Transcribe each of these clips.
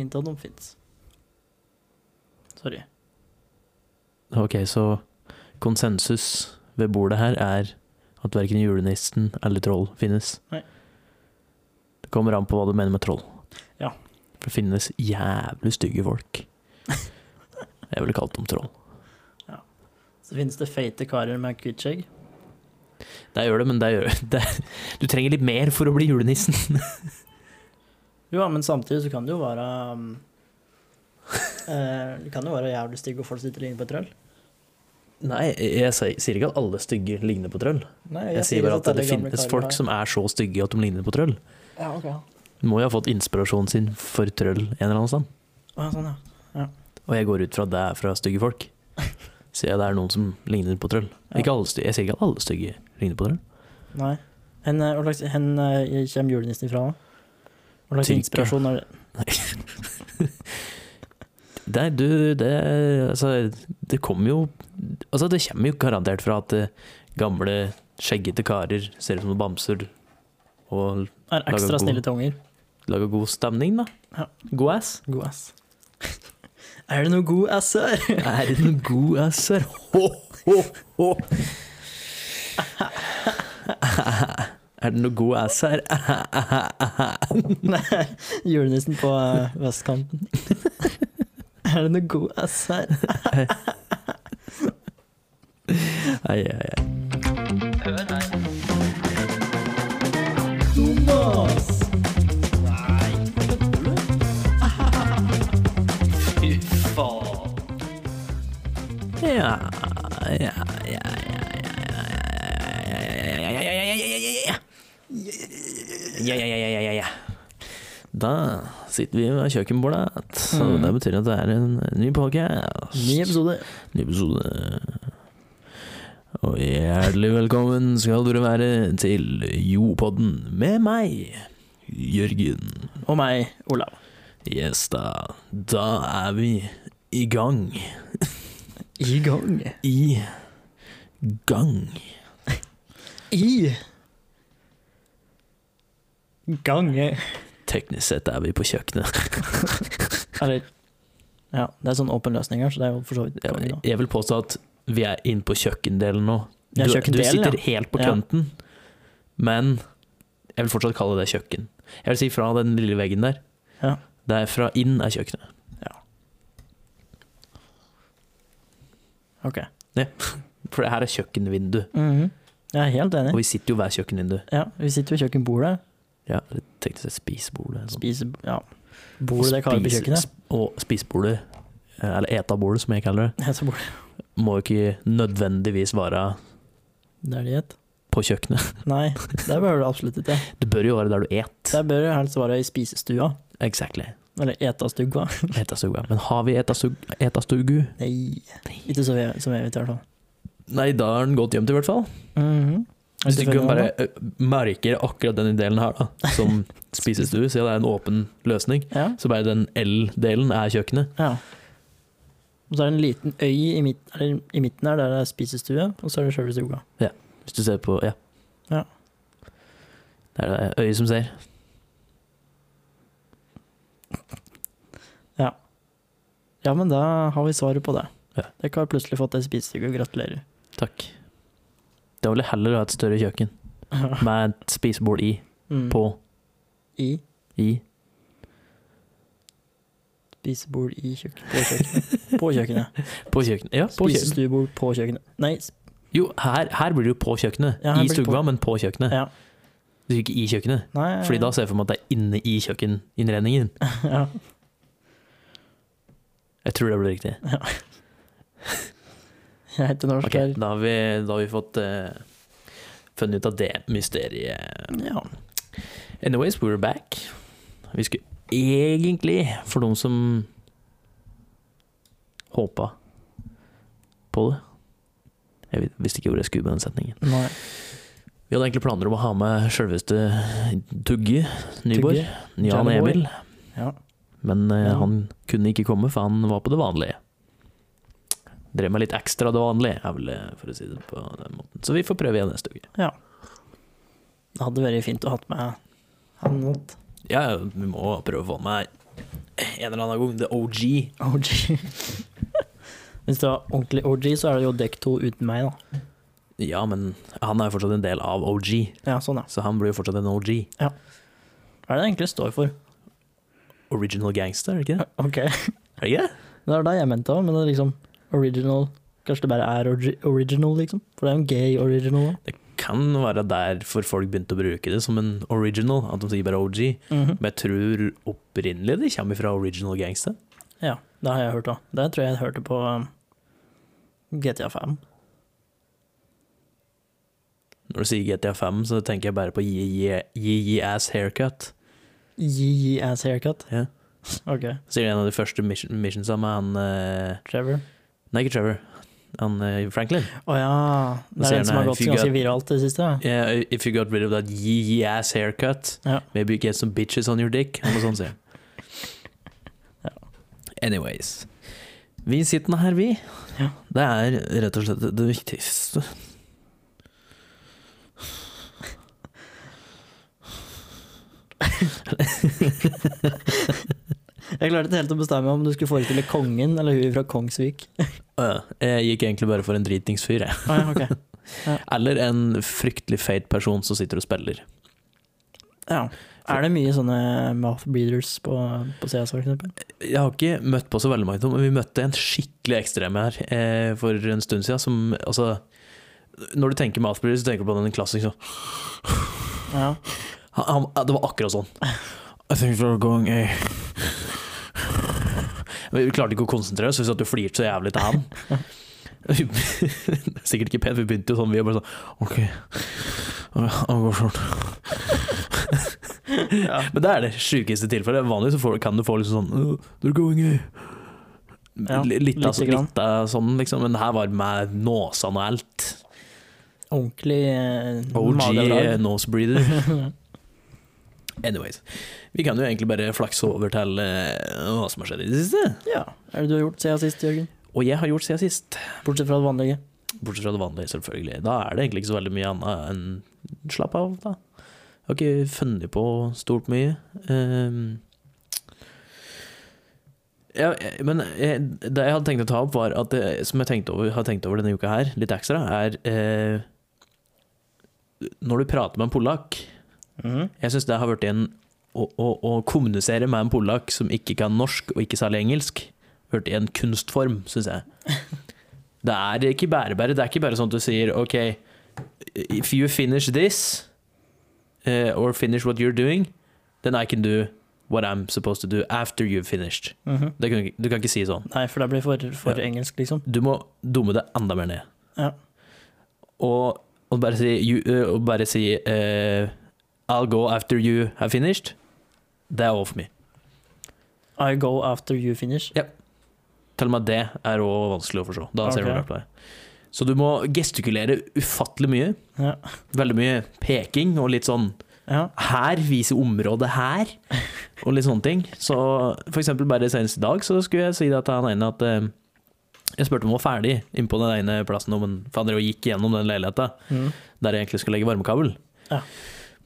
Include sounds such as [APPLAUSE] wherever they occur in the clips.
Inget av dem fins. Sorry. Ok, så konsensus ved bordet her er at verken julenissen eller troll finnes. Nei. Det kommer an på hva du mener med troll. Ja. For det finnes jævlig stygge [LAUGHS] folk. Jeg ville kalt dem troll. Så finnes det feite karer med hvitt skjegg. Det gjør det, men det gjør det. Du trenger litt mer for å bli julenissen. Jo, ja, men samtidig så kan det jo være um, [LAUGHS] eh, Det kan jo være jævlig stygg og folk sitter inne på et trøll. Nei, jeg sier sier ikke at alle stygge ligner på trøll. Nei, Jeg, sier bare at det, finnes folk som er så stygge at de ligner på trøll. Ja, ok. Ja. Du må jo ha fått inspirasjonen sin for trøll en eller annen sted. Ja, sånn, ja. Og jeg går ut fra at det er fra stygge [LAUGHS] folk. Sier jeg det er noen som ligner på trøll. Ja. Ikke alle stygge, jeg sier ikke at alle stygge ligner på trøll. Nei. Hen, eh, hva slags, hen eh, kommer julenissen ifra? da? Hva slags Tyrkia. inspirasjon er det? Nei, du, det Altså, det kommer jo Altså, det kommer jo garantert fra at eh, gamle, skjeggete karer ser ut som bamser og Er ekstra Lager god- snille til unger. lager god stemning, da. Ja. God ass. God ass. [LAUGHS] er det noe god ass her? Er det noen god ass [LAUGHS] her? Ho, ho, ho. Er det noe god ass her? [LAUGHS] Nei, [LAUGHS] julenissen på eh, [LAUGHS] vestkanten. er det noe god ass her? Ai, ai, ai. Thomas! Nei, [LAUGHS] kødder du? Fy faen. Ja, ja, ja, ja, ja, ja, ja, ja, ja, ja, ja, ja, ja, ja, ja, ja, ja, ja, ja, ja, ja, ja, ja, ja, ja. Da sitter vi ved kjøkkenbordet, så Mm. det betyr at det er en ny podcast. Ny episode. ny episode. Og hjertelig velkommen skal dere være til Jopodden med meg, Jørgen. Og meg, Olav. Yes da, da er vi i gang. I gang. I gang. I gange. Teknisk sett er vi på [LAUGHS] kjøkkenet. Eller Ja, det er sånn åpen løsning her, så det er jo for så vidt gange, Jeg, da. jeg vil påstå at vi er inne på kjøkkendelen nå. Du, Ja, du kjøkkendelen, sitter ja. helt på Ja. kanten, men jeg vil fortsatt kalle det kjøkken. Jeg vil si fra den lille veggen der. Ja. Det er fra inn er kjøkkenet. Ok. [LAUGHS] For det her er kjøkkenvindu, Mhm. Jeg er helt og enig. vi sitter jo hver kjøkkenvindu. Ja, vi sitter ved kjøkkenbordet. Ja, eller Tenk deg spisbordet. eller sånn. Spiser Ja. Bordet det kaller vi på Spis- kjøkkenet. [LAUGHS] sp- Og spisebordet, eh, eller etabordet som jeg kaller det, Ja, så bordet. må ikke nødvendigvis være Det er det gjett. på kjøkkenet. Nei, det bør du absolutt [LAUGHS] ikke. [LAUGHS] Det bør jo være der du et. Der bør det helst være i spisestua. Exactly. Eller etastugga. Etastuga. Men har vi etastug- etastugu? [LAUGHS] Nei. Ikke så jeg, som jeg vet, i hvert fall. Nei, da er den godt gjemt i hvert fall. Hvis du Mhm. Hvis du ikke finner bare noe, eh, merker akkurat den delen her, da, som [LAUGHS] spisestue, siden det er en åpen løsning, Ja. så bare den L-delen er kjøkkenet. ja. Og så er det en liten øy i, midt, eller, i midten her, der det er spisestue, og så er det sjølve stua. Hvis du ser på Ja. Ja. Det er det øyet som ser. Ja, men da har vi svaret på det. Ja. Dere har plutselig fått ei spisestue, gratulerer. Takk. Da vil jeg heller ha et større kjøkken med et spisebord i, Mm. på, I i. spisebord i kjøkken, på kjøkkenet. [LAUGHS] På kjøkkenet. På kjøkkenet. Ja, på kjøkkenet. Spisestuebord på kjøkkenet. Nei, sp Jo, her, her blir det jo på kjøkkenet. Ja, her I blir det stua, på. men på kjøkkenet. Ja. Det er jo ikke i kjøkkenet. nei Fordi da ser jeg for meg at det er inne i kjøkkeninnredningen. [LAUGHS] ja. Jeg tror det blir riktig. Jeg heter norsk Ok, her. da har vi, da har vi fått eh, funnet ut av det mysteriet. Ja. Anyways, we're back. Vi skulle egentlig, for de som håpa på det Jeg vet- visste ikke hvor jeg skulle med den setningen. Nei. Vi hadde egentlig planer om å ha med sjølveste Tugge Nyborg. Tugge. Jan Jellyboy. Emil. Ja. Men eh, Men- han kunne ikke komme, for han var på det vanlige. Drev med litt ekstra det vanlige, er vel det, for å si det på den måten. Så vi får prøve igjen neste uke. Det hadde vært fint å ha med han mot. Ja, vi må prøve å få med en eller annen gang. The OG. OG. [LAUGHS] Hvis det var ordentlig OG, så er det jo dekk to uten meg, da. Ja, men han er jo fortsatt en del av OG, Ja, sånn, ja. så han blir jo fortsatt en OG. Hva er det det egentlig står for? Original gangster, er det ikke det? Ok. Er det ikke det? Det var det jeg mente òg, men det er liksom original Kanskje det bare er orgi original, liksom? For det er jo en gay original òg. Kan være derfor folk begynte å bruke det som en original, at de sier bare OG. Men jeg tror opprinnelig det kommer fra original gangster. Ja, det har jeg hørt òg. Det tror jeg jeg hørte på um, GTA 5. Når du sier GTA 5, så tenker jeg bare på Yee Ass Haircut. Yee ass haircut. Ja. [LAUGHS] Ok, Så er det en av de første mission, missionsa med han eh, Trevor. Nei, ikke Trevor. Han eh, Franklin. Å ja. Det sier er den som har han her, gått if you ganske got- viralt det siste. Ja. Yeah, Eh, if you got rid of that yee ass haircut, Ja. maybe you get some bitches on your dick. Eller noe sånt, sier han. Ja. Anyways. Vi sitter nå her, vi. Ja. Det er rett og slett det- det viktigste. Jeg klarte ikke helt å bestemme om du skulle forestille kongen eller hun fra Kongsvik. Øh, Jeg gikk egentlig bare for en dritingsfyr, jeg. Å ja, ok. Eller en fryktelig feit person som sitter og spiller. [LAUGHS] Ja. Er det mye sånne mouth breeders på, på CS, for eksempel? Jeg har ikke møtt på så veldig mange, men vi møtte en skikkelig ekstrem her eh, for en stund siden. Som, altså, når du tenker Mouthbreeder, så tenker du på den klassiske sånn Ja. han, han, Det var akkurat sånn. I think we're going eh. Vi klarte ikke å konsentrere oss, så vi satt og flirte så jævlig til [LAUGHS] han. Sikkert ikke pent, vi begynte jo sånn. Vi var bare sånn OK, han går sånn. ja. [LAUGHS] Men det er det sjukeste tilfellet. Vanligvis så får, kan du få liksom sånn «Åh, They're going eh». Ja, L- litt, av, lite grann. litt av sånn, liksom. Men det her var med nåsene og alt. Ordentlig eh, OG eh, magedrag. nose breather. Anyways. Vi kan jo egentlig bare flakse over til eh, hva som har skjedd i det siste. [LAUGHS] ja. Hva er det du har gjort siden sist, Jørgen? Og jeg har gjort siden sist. Bortsett fra det vanlige. Bortsett fra det vanlige, selvfølgelig. Da er det egentlig ikke så veldig mye annet enn slapp av, da. Jeg har ikke funnet på stort mye. Ehm, ja, eh, men eh, det jeg hadde tenkt å ta opp, var at det, som jeg tenkte over, har tenkt over denne uka her, litt ekstra, er eh, Når du prater med en polakk Mhm. Jeg syns det har blitt en å, å, å kommunisere med en polakk som ikke kan norsk og ikke særlig engelsk, blitt en kunstform, syns jeg. Det er ikke bare bare. Det er ikke bare sånn at du sier OK, if you finish this, eh, or finish what you're doing, then I can do what I'm supposed to do after you've finished. Mhm. Det kan, du ikke- du kan ikke si sånn. Nei, for det blir for, for Ja. engelsk, liksom. Du må dumme det enda mer ned. Ja. Og, og bare si, you, eh, og bare si eh, I'll go after you have finished. Det er over for mye. I go after you finish. Til og med det er også vanskelig å forstå. Da ser Ok. du klart på det. Så du må gestikulere ufattelig mye. Ja. Veldig mye peking og litt sånn Ja. her, vise området her, og litt sånne ting. Så for eksempel bare senest i dag så skulle jeg si det til han ene at eh, jeg spurte om han var ferdig inn på den ene plassen, om han- for han drev og gikk gjennom den leiligheta Mhm. der jeg egentlig skulle legge varmekabel. Ja.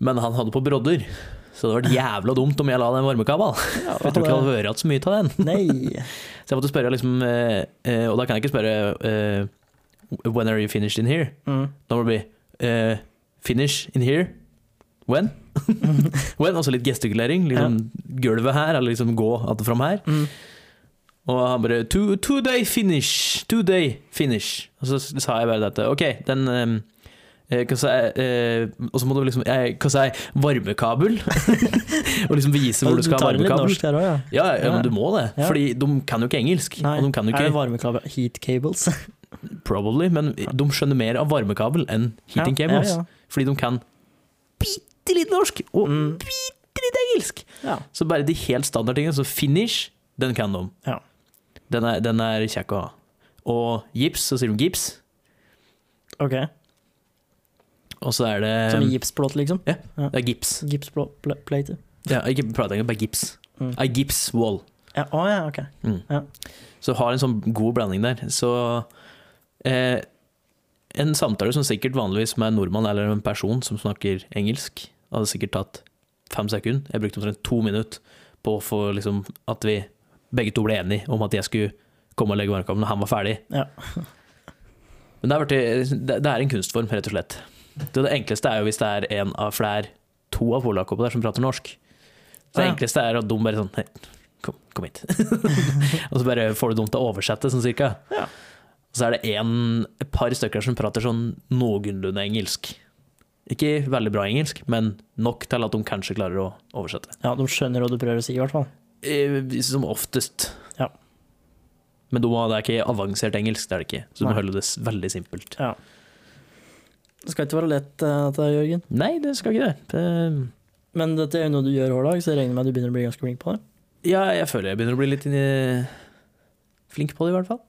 Men han hadde på brodder, så det hadde vært jævla dumt om jeg la den varmekabel. ja Jeg tror ikke jeg hadde hørt så mye av den. Nei. [LAUGHS] [LAUGHS] Så jeg måtte spørre liksom eh, eh, Og da kan jeg ikke spørre eh, When are you finished in here? Mm. Da må det bli eh, Finish in here? When? [LAUGHS] Mhm. When? Altså litt gestikulering. Liksom gulvet her, eller liksom gå att og fram her. Mm. Og han bare two, two day finish! Two day finish! Og så s- sa jeg bare dette. Ok, den um, og så må du liksom eh, Hva sa jeg? Varmekabel? [LAUGHS] og liksom vise hvor du skal ha tar en litt varmekabel. norsk her òg, ja. Ja, ja, Ja. men du må det. Ja. Fordi de kan jo ikke engelsk. Nei. Og de kan jo Er ikke det varmekabel? Heat cables? Probably, men de skjønner mer av varmekabel enn [LAUGHS] heating Ja, cables. Ja, Fordi de kan bitte litt norsk ja. og Mm. engelsk. ja. Så bare de helt standardtingene. Så finish, den kan de. Ja. Den, er, den er kjekk å ha. Og gips, så sier de gips. Ok. Og så er det Som i gipsplåt, liksom? Det er gips. Gipsplate? Ja, ikke prate engang, bare gips. Mm. Ei gips wall. Ja, å ja, ok. Mm. Ja. Så har en sånn god blanding der. Så eh, en samtale som sikkert vanligvis med en nordmann eller en person som snakker engelsk, hadde sikkert tatt fem sekunder. Jeg brukte omtrent to minutter på å få liksom At vi begge to ble enige om at jeg skulle komme og legge merke om når han var ferdig. Ja. [LAUGHS] Men det er, vært, det, det er en kunstform, rett og slett. Det, det enkleste er jo hvis det er en av for det er to av polakk oppå der som prater norsk. Så det Ja. enkleste er at de bare sånn Hei, kom, kom hit. [LAUGHS] og så bare får du dem til å oversette, sånn cirka. Ja. Og så er det en, et par stykker som prater sånn noenlunde engelsk. Ikke veldig bra engelsk, men nok til at de kanskje klarer å oversette. Ja, de skjønner hva du prøver å si, i hvert fall. Eh, Som oftest. Ja. Men de, har- det er ikke avansert engelsk, det er det ikke. Så du må Nei. holde det s- veldig simpelt. Ja. Det skal ikke være lett, eh, dette, Jørgen. Nei, det skal ikke det. det Men dette er jo noe du gjør hver dag, så jeg regner med at du begynner å bli ganske flink på det. ja, jeg føler jeg begynner å bli litt inni flink på det, i hvert fall.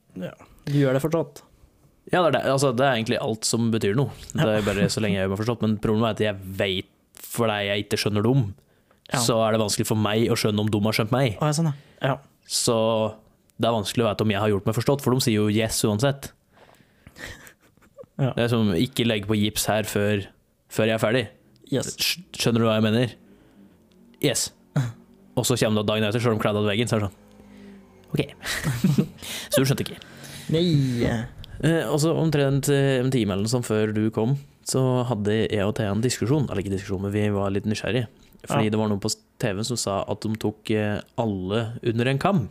Du gjør det fortsatt. Ja, det er, det. Altså, det er egentlig alt som betyr noe. Det er bare så lenge jeg har forstått. Men problemet er at jeg veit, fordi jeg ikke skjønner dem, Ja. så er det vanskelig for meg å skjønne om de har skjønt meg. Å, ja, sånn, ja. Så det er vanskelig å vite om jeg har gjort meg forstått, for de sier jo yes [LAUGHS] uansett. Ja. Det er som ikke legg på gips her før, før jeg er ferdig. ja. Yes. Skj- Skjønner du hva jeg mener? Yes. [LAUGHS] Og så kommer det dagen etter, så har de kledd av veggen, så er det sånn OK. [LAUGHS] så du skjønte ikke. Nei. Eh, og så omtrent eh, en time eller noe sånt før du kom, så hadde jeg og Thea en diskusjon. Eller ikke diskusjon, men vi var litt nysgjerrige. Fordi Ja. det var noen på TV som sa at de tok eh, alle under en kam.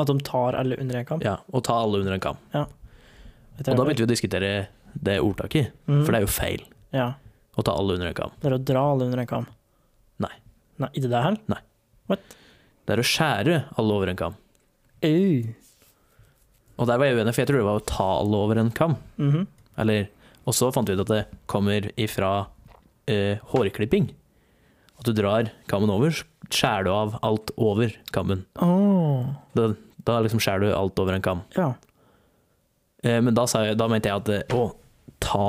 At de tar alle under en kam. Ja, og ta alle under en kam. Og da begynte vi å diskutere det ordtaket, mm. for det er jo feil Ja. å ta alle under en kam. Det er å dra alle under en kam. Nei. Nei, Ikke det her? Det er å skjære alle over en kam. Au. Og der var jeg uenig, for jeg tror det var å ta alle over en kam. Mhm. Eller, og så fant vi ut at det kommer ifra eh, hårklipping. At du drar kammen over, skjærer du av alt over kammen. Åh. Da, da liksom skjærer du alt over en kam. Ja. Eh, men da, sa jeg, da mente jeg at eh, å, ta,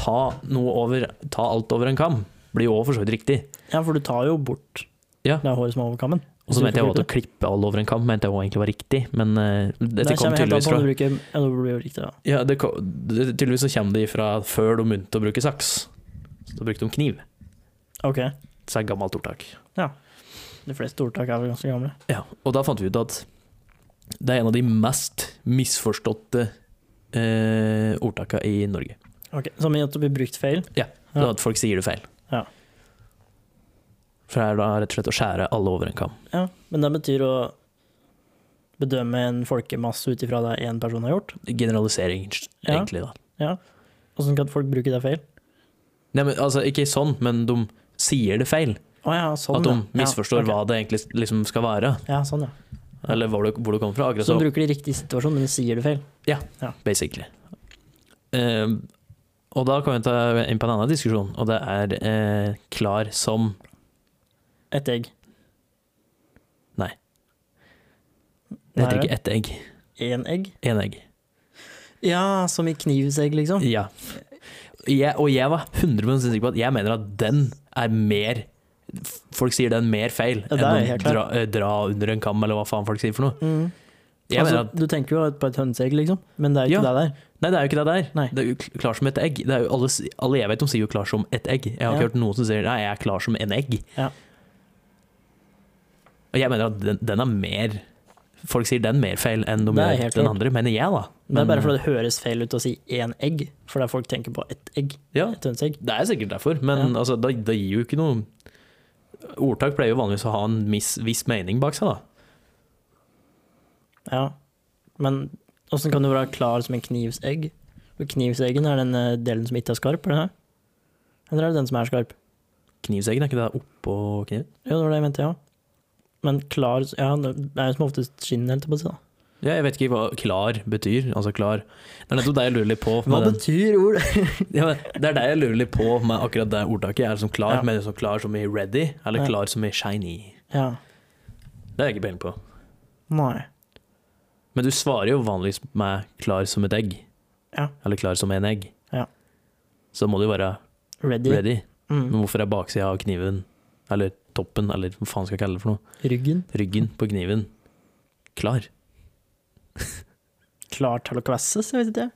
ta noe over, ta alt over en kam, blir jo også for så vidt riktig. ja, for du tar jo bort Ja. det håret som er over kammen. Og så Du mente jeg får også at å klippe alle over en kam, mente jeg også egentlig var riktig, men eh, dette Det kom kommer helt an tydeligvis på fra om du bruker Ja, det blir jo riktig, da. Ja, det, ko- det, tydeligvis så kommer det fra før de begynte å bruke saks. Så da brukte de kniv. OK. Så er det et gammelt ordtak. De fleste ordtak er vel ganske gamle. Ja, og da fant vi ut at det er en av de mest misforståtte eh, ordtaka i Norge. Ok, Som i at det blir brukt feil. Det Ja. er At folk sier det feil. Ja. For det er da rett og slett å skjære alle over en kam. Ja, Men det betyr å bedømme en folkemasse ut ifra det én person har gjort. Generalisering, Ja. egentlig, da. Åssen kan folk bruke det feil? Nei, men, altså, ikke sånn, men de sier det feil. Å ja, sånn, at de ja. misforstår ja, ok. hva det egentlig liksom skal være. Ja, sånn, ja. Eller hvor du, hvor du kommer fra. Akkurat Så som- de bruker det i riktig situasjon, men sier det feil. basically. Eh, og da kan vi ta inn på en annen diskusjon, og det er eh, klar som Et egg. Nei. Det heter ikke ett egg, Én egg? én egg. Ja, som i knivsegg, liksom. Ja. Jeg, og jeg var 100 sikker på at jeg mener at den er mer Folk sier den mer feil Ja, det er enn å helt klart. dra, eh, dra under en kam, eller hva faen folk sier for noe. Mm. Jeg altså, mener at Du tenker jo på et hønseegg, liksom, men det er jo ikke Ja. det der. Nei, det er jo ikke det der. Nei. Det er jo kl- klar som et egg. Det er jo alle, si- alle jeg vet om, sier jo 'klar som et egg'. Jeg har ikke Ja. hørt noen som sier 'nei, jeg er klar som en egg'. Ja. Og jeg mener at den, den er mer Folk sier den mer feil enn de Det er gjør den helt klart. andre, mener jeg, da. det Men- eh, er bare fordi det høres feil ut å si én egg, fordi folk tenker på ett egg. Ja, Et hønseegg. det er sikkert derfor, men altså, det, det gir jo ikke noe Ordtak pleier jo vanligvis å ha en miss, viss mening bak seg, da. Ja. Men åssen kan du være klar som en knivsegg? For knivseggen er den eh, delen som ikke er skarp, er det det? Eller er det den som er skarp? Knivseggen, er ikke det oppå kniven? Jo, det var det jeg mente, ja. Men klar Ja, det er jo som oftest skinn, helt på å si. da. Ja, jeg vet ikke hva 'klar' betyr. Altså klar Det er nettopp det jeg lurer litt på. Hva med den- betyr ord? Ja, men det er det jeg lurer litt på med akkurat det ordtaket. Er det som klar, Ja. men er det som klar som i ready, eller Ja. klar som i shiny? ja. Det har jeg ikke peiling på. Nei. Men du svarer jo vanligvis med klar som et egg. Ja. Eller klar som en egg. Ja. Så må det jo være Ready. ready. Mm. Men hvorfor er baksida av kniven, eller toppen, eller hva faen skal jeg kalle det for noe, Ryggen. ryggen på kniven, klar? Klar til å kvesses, jeg vet ikke.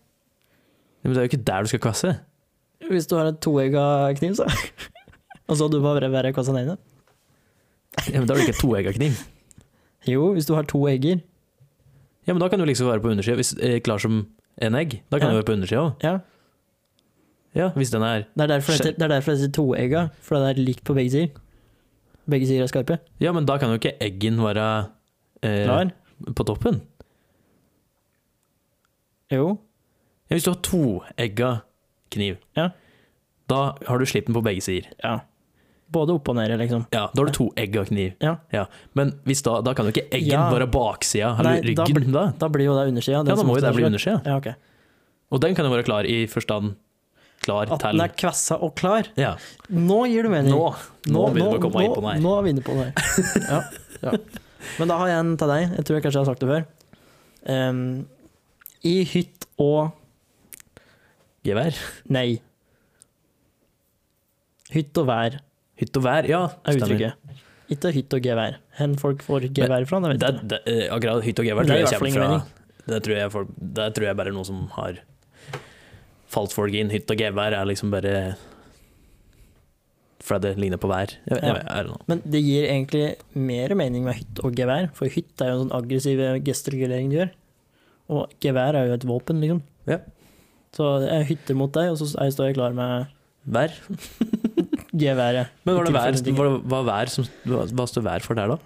Men det er jo ikke der du skal kvasse. Hvis du har et toegga kniv, så. Og så hadde du bare vært kassa den ene. Ja, men da er det ikke et toegga kniv. Jo, hvis du har to egger. Ja, men da kan du liksom være på undersida. Hvis eh, klar som en egg, da kan Ja. du være på undersida òg. Ja, Ja, hvis den er Det er derfor det Skjø- heter- det er derfor det heter toegga, for det er likt på begge sider. Begge sider er skarpe. Ja, men da kan jo ikke eggen være eh, Klar? på toppen. Jo. Ja, hvis du har toegga kniv, Ja. da har du slippen på begge sider. Ja. Både opp og nede, liksom. Ja, Da har du toegga kniv. Ja. Men hvis da, da kan jo ikke eggen Ja. være baksida Nei, eller da ryggen. blir- Da, Da blir jo det undersida. den Ja, da som må jo ofte det er bli skarp. undersida. Ja, ok. Og den kan jo være klar i forstand klar At til den er kvassa og klar. ja. Nå gir du mening. Nå, nå begynner vi å komme inn på den her. Nå er vi inne på det her. Ja, ja. Men da har jeg en til deg. Jeg tror jeg kanskje jeg har sagt det før. Ehm, I hytt og Gevær. Nei. Hytt og vær Hytt og vær, ja. er stemmer. uttrykket. Ikke hytt og gevær. Hen folk får gevær fra, det vet jeg. Det, det, eh, akkurat hytt og Det gevær er tror i jeg hvert fall kommer ingen fra det tror jeg, folk, det tror jeg bare er noe som har falt folk inn. Hytt og gevær er liksom bare fordi det ligner på vær. Jeg, jeg, Ja. jeg, er det noe. Men det gir egentlig mer mening med hytt og gevær, for hytt er jo en sånn aggressiv gestikulering du gjør. Og gevær er jo et våpen, liksom. Ja. Så jeg hytter mot deg, og så er- står jeg klar med Vær. geværet. Men I var det vær, tilfelle det ikke- var, det- var vær som, hva, hva står vær for der, da?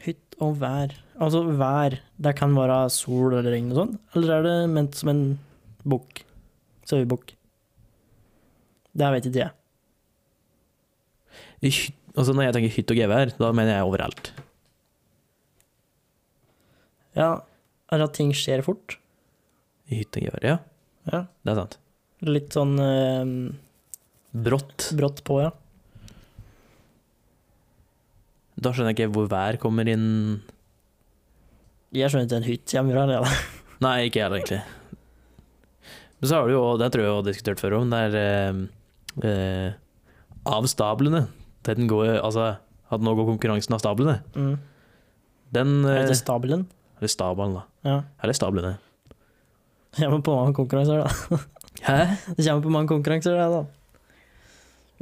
Hytt og vær. Altså vær, det kan være sol eller regn og sånn, eller er det ment som en bukk? Sauebukk. Det vet ikke jeg. I hyt- Altså Når jeg tenker hytt og gevær, da mener jeg overalt. Ja, eller at ting skjer fort. I hytt og gevær, ja. Ja. Det er sant. Litt sånn eh, Brått. brått på, ja. Da skjønner jeg ikke hvor vær kommer inn Jeg skjønner ikke en hytt hjemmefra, det da. Nei, ikke jeg heller, egentlig. Men så har du jo, det tror jeg jeg har diskutert før om, det er eh, eh, av stablene. Det Den går, altså, at nå går konkurransen av stablene. Mm. Den Er eh, det stabelen? Eller stabelen, da. Ja. [LAUGHS] Eller stablene. Det kommer på mange konkurranser, da. Hæ? Det kommer på mange konkurranser, det da.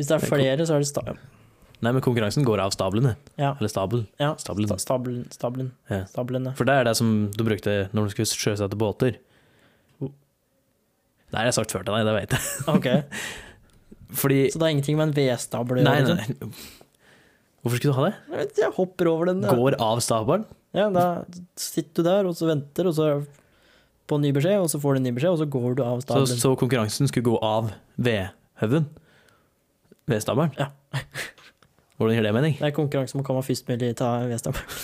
Hvis det er Det er flere, så er det sta Nei, men konkurransen går av stablene. Ja. Eller stabel. ja. Stabelen. Sta stabelen. Stabelen. Ja. Stablene. For det er det som du brukte når du skulle sjøsette båter. Det har jeg sagt før til deg, det vet jeg. Ok, [LAUGHS] Fordi så det er ingenting med en vedstable å Nei, gjøre, liksom? nei. Hvorfor skulle du ha det? Jeg vet ikke, jeg hopper over den. ja. Går av stabelen? Ja, da sitter du der, og så venter, og så på en ny beskjed, og så får du en ny beskjed, og så går du av Så, stabelen. så konkurransen skulle gå av vedhaugen? Vedstabelen? Ja. [LAUGHS] Hvordan gir det mening? Det er konkurranse om å komme først mulig til V-stabelen.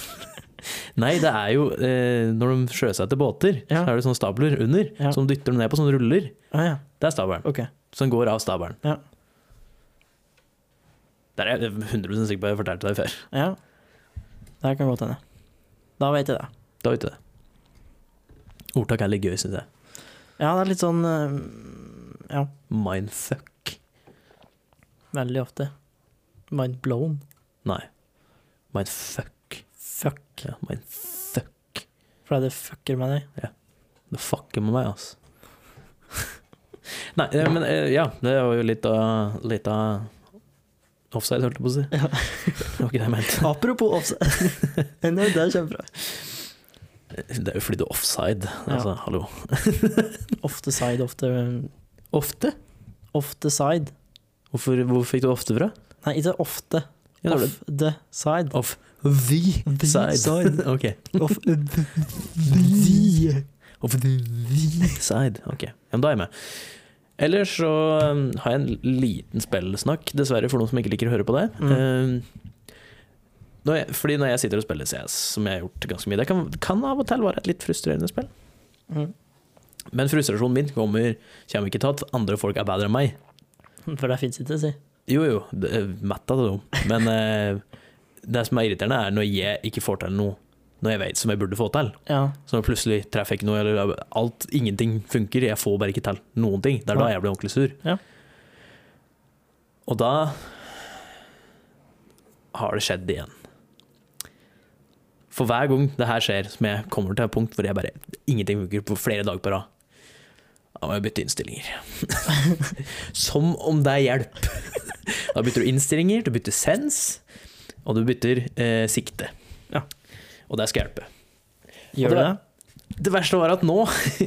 Nei, det er jo eh, når de sjøsetter båter, Ja. så er det sånne stabler under Ja. som dytter dem ned på sånne ruller. Ah, ja, Det er stabelen. ok. Så den går av stabelen. Ja. Der er jeg 100 sikker på at jeg fortalte deg før. Ja. Det her kan godt hende. Da vet jeg det. Da vet du det. Ordtak er litt gøy, syns jeg. Ja, det er litt sånn eh, Ja, Mindfuck. veldig ofte. Mind blown. Nei. Mindfuck. Fuck. Ja, mindfuck. For det fucker med deg. Det fucker med meg, altså. [LAUGHS] Nei, eh, men eh, ja, det var jo litt av, litt av offside, holdt jeg på å si. Ja. [LAUGHS] Det var ikke det jeg mente. Apropos offside. [LAUGHS] Nei, det er kjempebra. Det er jo fordi det er offside. Altså, hallo. Ofte side, ofte Ofte? Ofte side. Hvorfor, hvor fikk du ofte fra? Nei, ikke ofte. Ja, det var Off the side. Off the, The side. side. ok. [LAUGHS] Off the- Off the, side. Ok, ja, men da er jeg med. Ellers så um, har jeg en liten spillsnakk, dessverre, for noen som ikke liker å høre på det. Mm. Um, når jeg, fordi når jeg sitter og spiller CS, som jeg har gjort ganske mye, det kan, kan av og til være et litt frustrerende spill. Mm. Men frustrasjonen min kommer, kommer ikke til at andre folk er bedre enn meg. For det fins ikke, si. Jo, jo, det eh, er mett av det, da. Men eh, det som er irriterende, er når jeg ikke får til noe når jeg vet som jeg burde få til. Ja. Så når plutselig treffer jeg ikke noe, eller alt, ingenting funker. Jeg får bare ikke til noen ting. Det er da jeg blir ordentlig sur. Ja. Og da har det skjedd igjen. For hver gang det her skjer, som jeg kommer til et punkt hvor jeg bare ingenting funker på flere dager på rad, da må jeg bytte innstillinger. [LAUGHS] som om det er hjelp! Da bytter du innstillinger, du bytter sens, og du bytter eh, sikte. Ja. Og det skal hjelpe. Gjør du det? Det verste var at nå,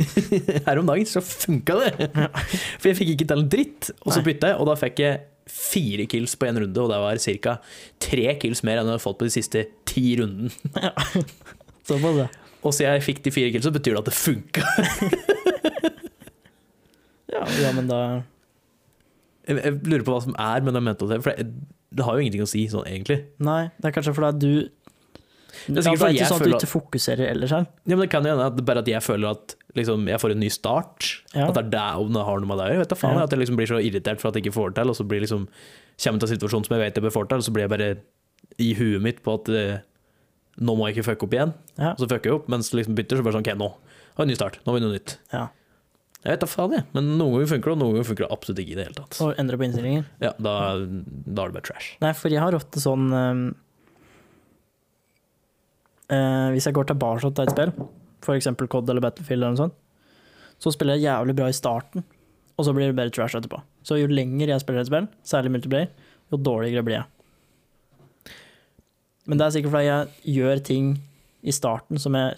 [LAUGHS] her om dagen, så funka det! For jeg fikk ikke til en dritt, og så Nei. bytta jeg, og da fikk jeg fire kills på én runde, og det var ca. tre kills mer enn jeg hadde fått på de siste ti runden. Såpass, ja. Og så jeg fikk de fire kills, så betyr det at det funka. [LAUGHS] ja. Ja, men da [LAUGHS] Jeg, jeg lurer på hva som er med den mental tv, for det, det har jo ingenting å si sånn egentlig. Nei, det er kanskje fordi at du ja, for er sikkert fordi det er jeg ikke sånn at du føler- ikke fokuserer ellers her. Ja, men det kan jo hende at bare at jeg føler at liksom, jeg får en ny start. Ja. At det er der om det har noe med det å gjøre. Vet du faen, Ja. At jeg liksom blir så irritert for at jeg ikke får det til, og så blir liksom, kommer jeg til en situasjon som jeg vet jeg bør få til, og så blir jeg bare i huet mitt på at eh, nå må jeg ikke fucke opp igjen. Ja. Og så fucker jeg opp, mens liksom bytter så bare sånn OK, nå har vi en ny start. Nå har vi noe nytt. Ja. Jeg vet da faen, jeg. Men noen ganger funker det, og noen ganger funker det absolutt ikke i det hele tatt. Og endre på innstillinger. Ja, da, da er det bare trash. Nei, for jeg har ofte sånn ehm, eh, Hvis jeg går tilbake til et spill, f.eks. COD eller Battlefield, eller noe sånt, så spiller jeg jævlig bra i starten, og så blir det bare trash etterpå. Så jo lenger jeg spiller et spill, særlig multiplayer, jo dårligere blir jeg. Men det er sikkert fordi jeg gjør ting i starten som jeg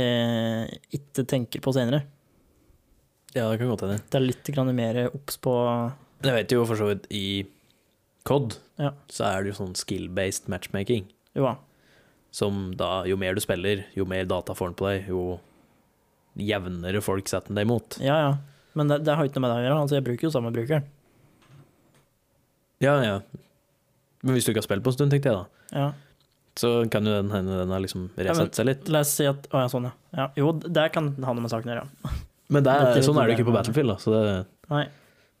eh, ikke tenker på senere. Ja, det kan godt hende. Det er litt grann mer obs på Jeg vet jo for så vidt i COD Ja. så er det jo sånn skill-based matchmaking. Jo da. Som da, jo mer du spiller, jo mer data får han på deg, jo jevnere folk setter han deg imot. Ja, ja. Men det, det har ikke noe med det å gjøre. Altså, jeg bruker jo samme brukeren. Ja, ja. Men hvis du ikke har spilt på en stund, tenkte jeg da, Ja. så kan jo den hende den har liksom Ja, men- resett seg litt. La oss si at Å ja, sånn, ja. ja. Jo, det kan ha noe med saken å gjøre. Men det er, Det er sånn er det det jo ikke på Battlefield, da. Så det, Nei.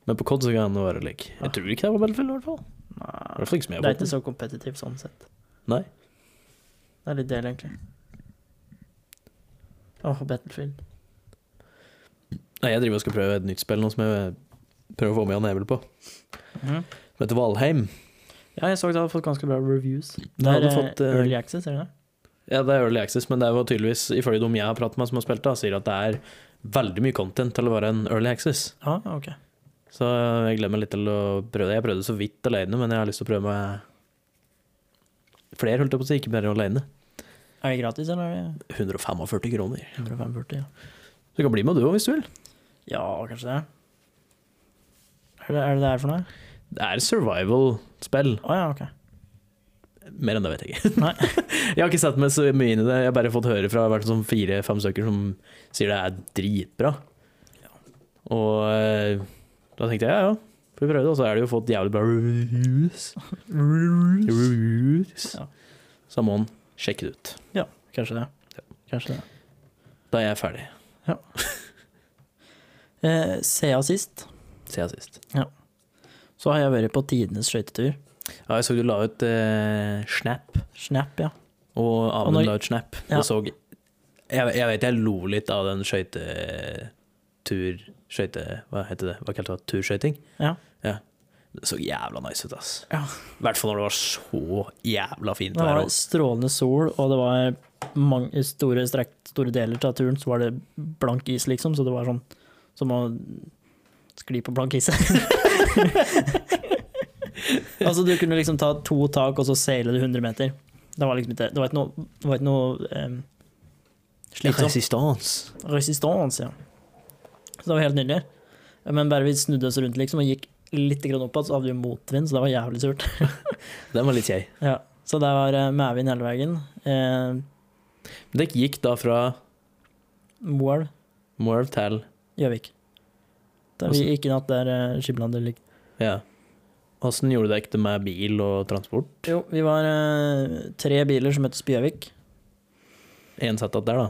men på COD så kan det være lik. Jeg tror ikke det er på Battlefield, i hvert fall. I hvert Nei. fall ikke som jeg Det er har ikke fått. så kompetitivt sånn sett. Nei. Det er litt del, egentlig. Åh, Battlefield. Nei, jeg driver og skal prøve et nytt spill nå som jeg prøver å få med Jan Evel på. Mhm. Det heter Valheim. Ja, jeg så at det hadde fått ganske bra reviews. Det Det er hadde eh, fått, eh, Early Access, er det det? Ja, det er Early Access, men det er jo tydeligvis, ifølge dem jeg har pratet med som har spilt det, sier at det er veldig mye content til å være en Early Access. Ja, ok. Så jeg gleder meg litt til å prøve det. Jeg prøvde så vidt alene, men jeg har lyst til å prøve meg flere, holdt jeg på å si, ikke bare alene. Er det gratis, eller er det 145 kroner. 145? Ja, Så du kan bli med du òg, hvis du vil. ja kanskje det. Er det, er det det her for noe? Det er survival-spill. Å ja, ok. Mer enn det vet jeg ikke. Nei. [LAUGHS] jeg har ikke satt meg så mye inn i det. Jeg har bare fått høre fra hvert sånn fire-fem stykker som sier det er dritbra. Og eh, da tenkte jeg ja, ja, får vi prøve det. Og så er det jo fått jævlig bra reviews. Reviews. Ja. Så da må man sjekke det ut. Kanskje det. Kanskje det. Da er jeg ferdig, Eh, Siden sist sier jeg sist. så har jeg vært på tidenes skøytetur. Ja, jeg så du la ut eh, Snap, Snap, ja. og Og Amund når- la ut Snap. Ja. Og så, jeg, jeg vet jeg lo litt av den skøytetur... Skøyte... Hva heter det? Hva kalte du det? Turskøyting? Ja. Det så jævla nice ut, ass. Ja. I hvert fall når det var så jævla fint Det vær. var strålende sol, og det var mange store, strekk, store deler av turen, så var det blank is, liksom, så det var sånn som å skli på blank is. [LAUGHS] altså, du kunne liksom ta to tak, og så seile du 100 meter. Det var liksom ikke Det var ikke noe, det var ikke noe ehm, em, slitsomt. Resistans. Resistans, ja. Så det var helt nydelig. Men bare vi snudde oss rundt liksom, og gikk litt grann opp igjen, så hadde vi motvind, så det var jævlig surt. Den var litt kjei. Ja, så det var eh, medvind hele veien. Eh, Men det gikk da fra Moelv, Moelv til Gjøvik. Da vi gikk i natt der eh, Skiblander ligger. Ja. Åssen gjorde du det ikke med bil og transport? Jo, vi var eh, tre biler som møttes på Gjøvik. Én setup der, da.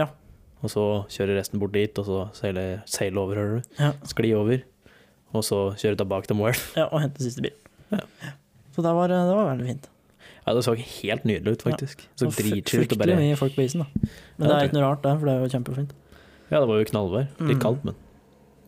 Ja. Og så kjøre resten bort dit, og så seile, seile over, hører du. Ja. Skli over. Og så kjøre tilbake til Moelv. Ja, og hentet siste bil. Ja. Så det var, eh, det var veldig fint. Ja, det så helt nydelig ut, faktisk. Så Det var fry- dritkult å bare Fryktelig mye folk på isen, da. Men Ja, det det er ikke noe rart, det, for det er jo kjempefint. Ja, det var jo knallvær. Mm. Litt kaldt, men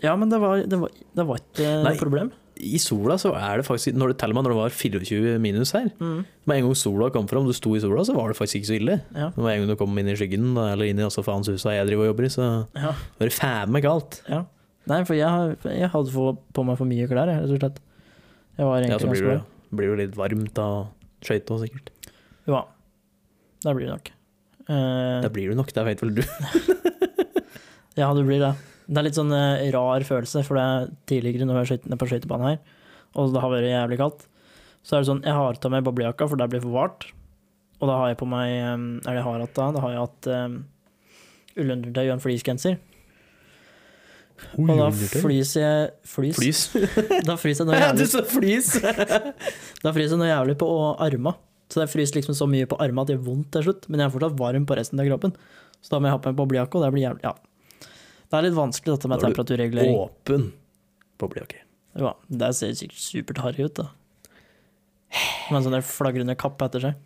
Ja, men det var, det var, det var ikke noe Nei. problem. I sola så er det faktisk når det, Til og med når det var 24 minus her, Mm. med en gang sola kom fram, du sto i sola, så var det faktisk ikke så ille. Ja. Men Med en gang du kom inn i skyggen, da, eller inn i altså faens huset jeg driver og jobber i, så ja. var det faen meg kaldt. ja. Nei, for jeg, har- jeg hadde få, på meg for mye klær, jeg, rett og slett. Jeg var Ja, egentlig så blir ganske du, bra. blir jo litt varmt av skøyta, sikkert. Jo da. Det blir det nok. Eh, Det blir det nok, det vet vel du. Ja, du blir det. Det er litt sånn eh, rar følelse, for det er tidligere når jeg har skøyt- på skøytebanen her, og det har vært jævlig kaldt, så er det sånn Jeg har tatt meg boblejakka, for det blir for vart. Og da har jeg på meg eh, Er det jeg har hatt da? Da har jeg hatt um, ullundertøy og en fleecegenser. Og da flyser jeg Flys? Flys. [LAUGHS] Da fryser jeg noe [LAUGHS] Ja, du jævlig, sa flis! [LAUGHS] da fryser jeg noe jævlig på arma. Så jeg fryser liksom så mye på arma at det gjør vondt til slutt, men jeg er fortsatt varm på resten av kroppen. Så da må jeg ha på meg boblejakke, og det blir jævlig Ja. Det er litt vanskelig dette med Da er du temperaturregulering. Åpen boblejakke. Ja, det ser sikkert supert harry ut, da. Med en sånn der flagrende kapp etter seg.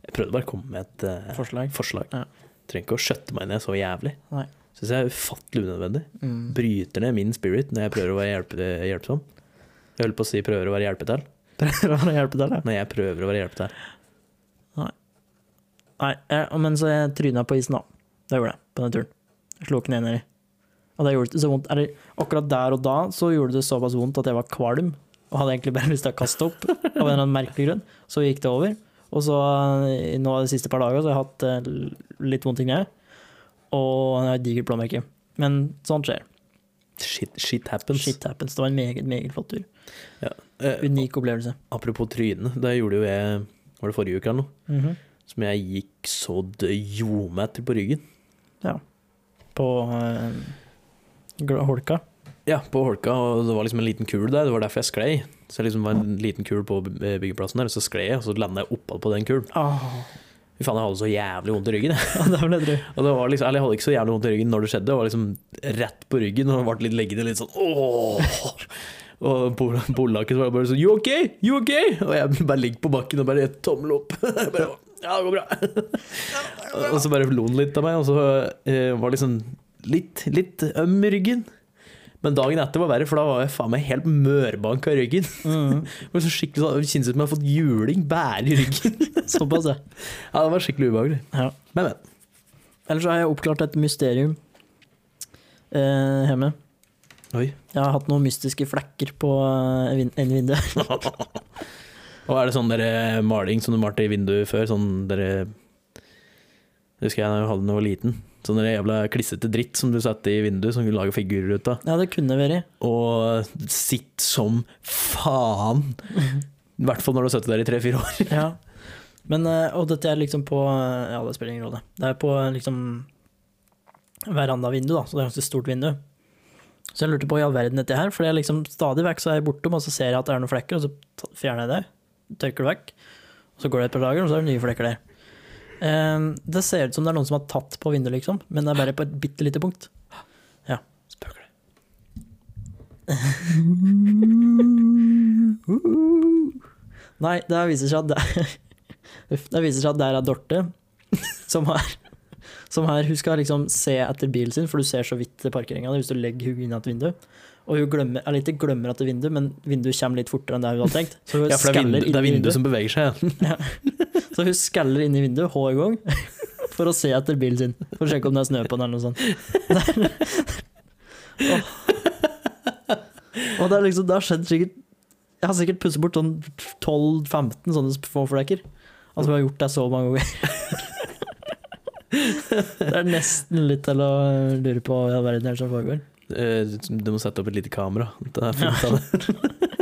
Jeg prøvde bare å komme med et eh, Forslag. forslag. Ja. Trenger ikke å skjøtte meg ned så jævlig. Nei. Syns jeg er ufattelig unødvendig. Mm. Bryter ned min spirit når jeg prøver å være hjelpe, eh, hjelpsom. Jeg holder på å si 'prøver å være hjelpetall'. Prøver å hjelpe til, da. Når jeg prøver å være hjelpetall. Nei, jeg, men så jeg tryna på isen, da. Det gjorde jeg, på den turen. Jeg slo kneet nedi. Og det gjorde det så vondt. Eller, akkurat der og da så gjorde det såpass vondt at jeg var kvalm. Og hadde egentlig bare [LAUGHS] lyst til å kaste opp, av en eller annen merkelig grunn. Så gikk det over. Og så eh, nå de siste par dagene så har jeg hatt eh, l- litt vondt i kneet. Og jeg har et digert blåmerke. Men sånt skjer. Shit, shit happens. Shit happens. Det var en meget, meget flott tur. Eh, Unik opplevelse. apropos tryne, det gjorde jo jeg Var det forrige uke eller noe? Mhm. Som jeg gikk så det gjorde meg til på ryggen. På eh, gl- holka. Ja, på holka, og det var liksom en liten kul der, det var derfor jeg sklei. Så jeg liksom var en liten kul på eh, byggeplassen der, og så sklei jeg, og så landa jeg oppå på den kulen. [LAUGHS] Oh, Fy faen, jeg hadde så jævlig vondt i ryggen. jeg. det ble drøy. Og det var liksom, eller jeg hadde ikke så jævlig vondt i ryggen når det skjedde, det var liksom rett på ryggen, og det ble litt leggende, litt sånn ååå. Og bol- bolaket var bare sånn You okay? You okay? Og jeg bare ligger på bakken og bare tommel opp. [LAUGHS] Jeg bare, ja, det går bra. Og så bare lo han litt av meg, og så eh, var det liksom litt, litt øm i ryggen. Men dagen etter var verre, for da var jeg faen meg helt mørbanka i ryggen. Mm. Det var så skikkelig sånn, Det kjennes ut som jeg har fått juling bære i ryggen. Såpass, ja. Ja, det var skikkelig ubehagelig. ja. Men, men. Ellers så har jeg oppklart et mysterium eh, hjemme. Oi. Jeg har hatt noen mystiske flekker på eh, vin en vindu. [LAUGHS] [LAUGHS] Og er det sånn dere maling som du malte i vinduet før? Sånn dere Husker jeg da jeg hadde den da jeg var liten. Sånn dere jævla klissete dritt som du satte i vinduet, som du lager figurer ut av. Ja, det kunne vært. Og sitt som faen! I hvert fall når du har sittet der i tre-fire år. [LAUGHS] Ja. Men, eh, og dette er liksom på eh, Ja, det spiller ingen rolle. Det er på eh, liksom verandavindu, da, så det er ganske stort vindu. Så jeg lurte på i all verden dette her, for jeg liksom stadig vekk så er jeg bortom, og så ser jeg at det er noen flekker, og så ta- fjerner jeg det, tørker det vekk. Og så går det et par dager, og så er det nye flekker der. Eh, det ser ut som det er noen som har tatt på vinduet, liksom, men det er bare på et bitte lite punkt. Spøker det. Nei, det viser seg at det, [LAUGHS] Uff, det viser seg at der er Dorte, som har, som har Hun skal liksom se etter bilen sin, for du ser så vidt parkeringa hvis du legger henne inn et vindu. Og hun glemmer, eller ikke glemmer at det er vindu, men vinduet kommer litt fortere enn det hun hadde tenkt. Så hun Ja, for det er, skaller inn i vindu, det er vinduet vinduet, som beveger seg. så hun skaller inn i vinduet hver gang [LAUGHS] for å se etter bilen sin. For å sjekke om det er snø på den eller noe sånt. [LAUGHS] Det er- Åh. Og det, er liksom, det har skjedd sikkert Jeg har sikkert pusset bort sånn 12-15 sånne små flekker. Altså, vi har gjort det så mange ganger. [LAUGHS] Det er nesten litt til å eh, lure på hva i all verden er det som foregår. Eh, Du må sette opp et lite kamera. Det er fullt av det.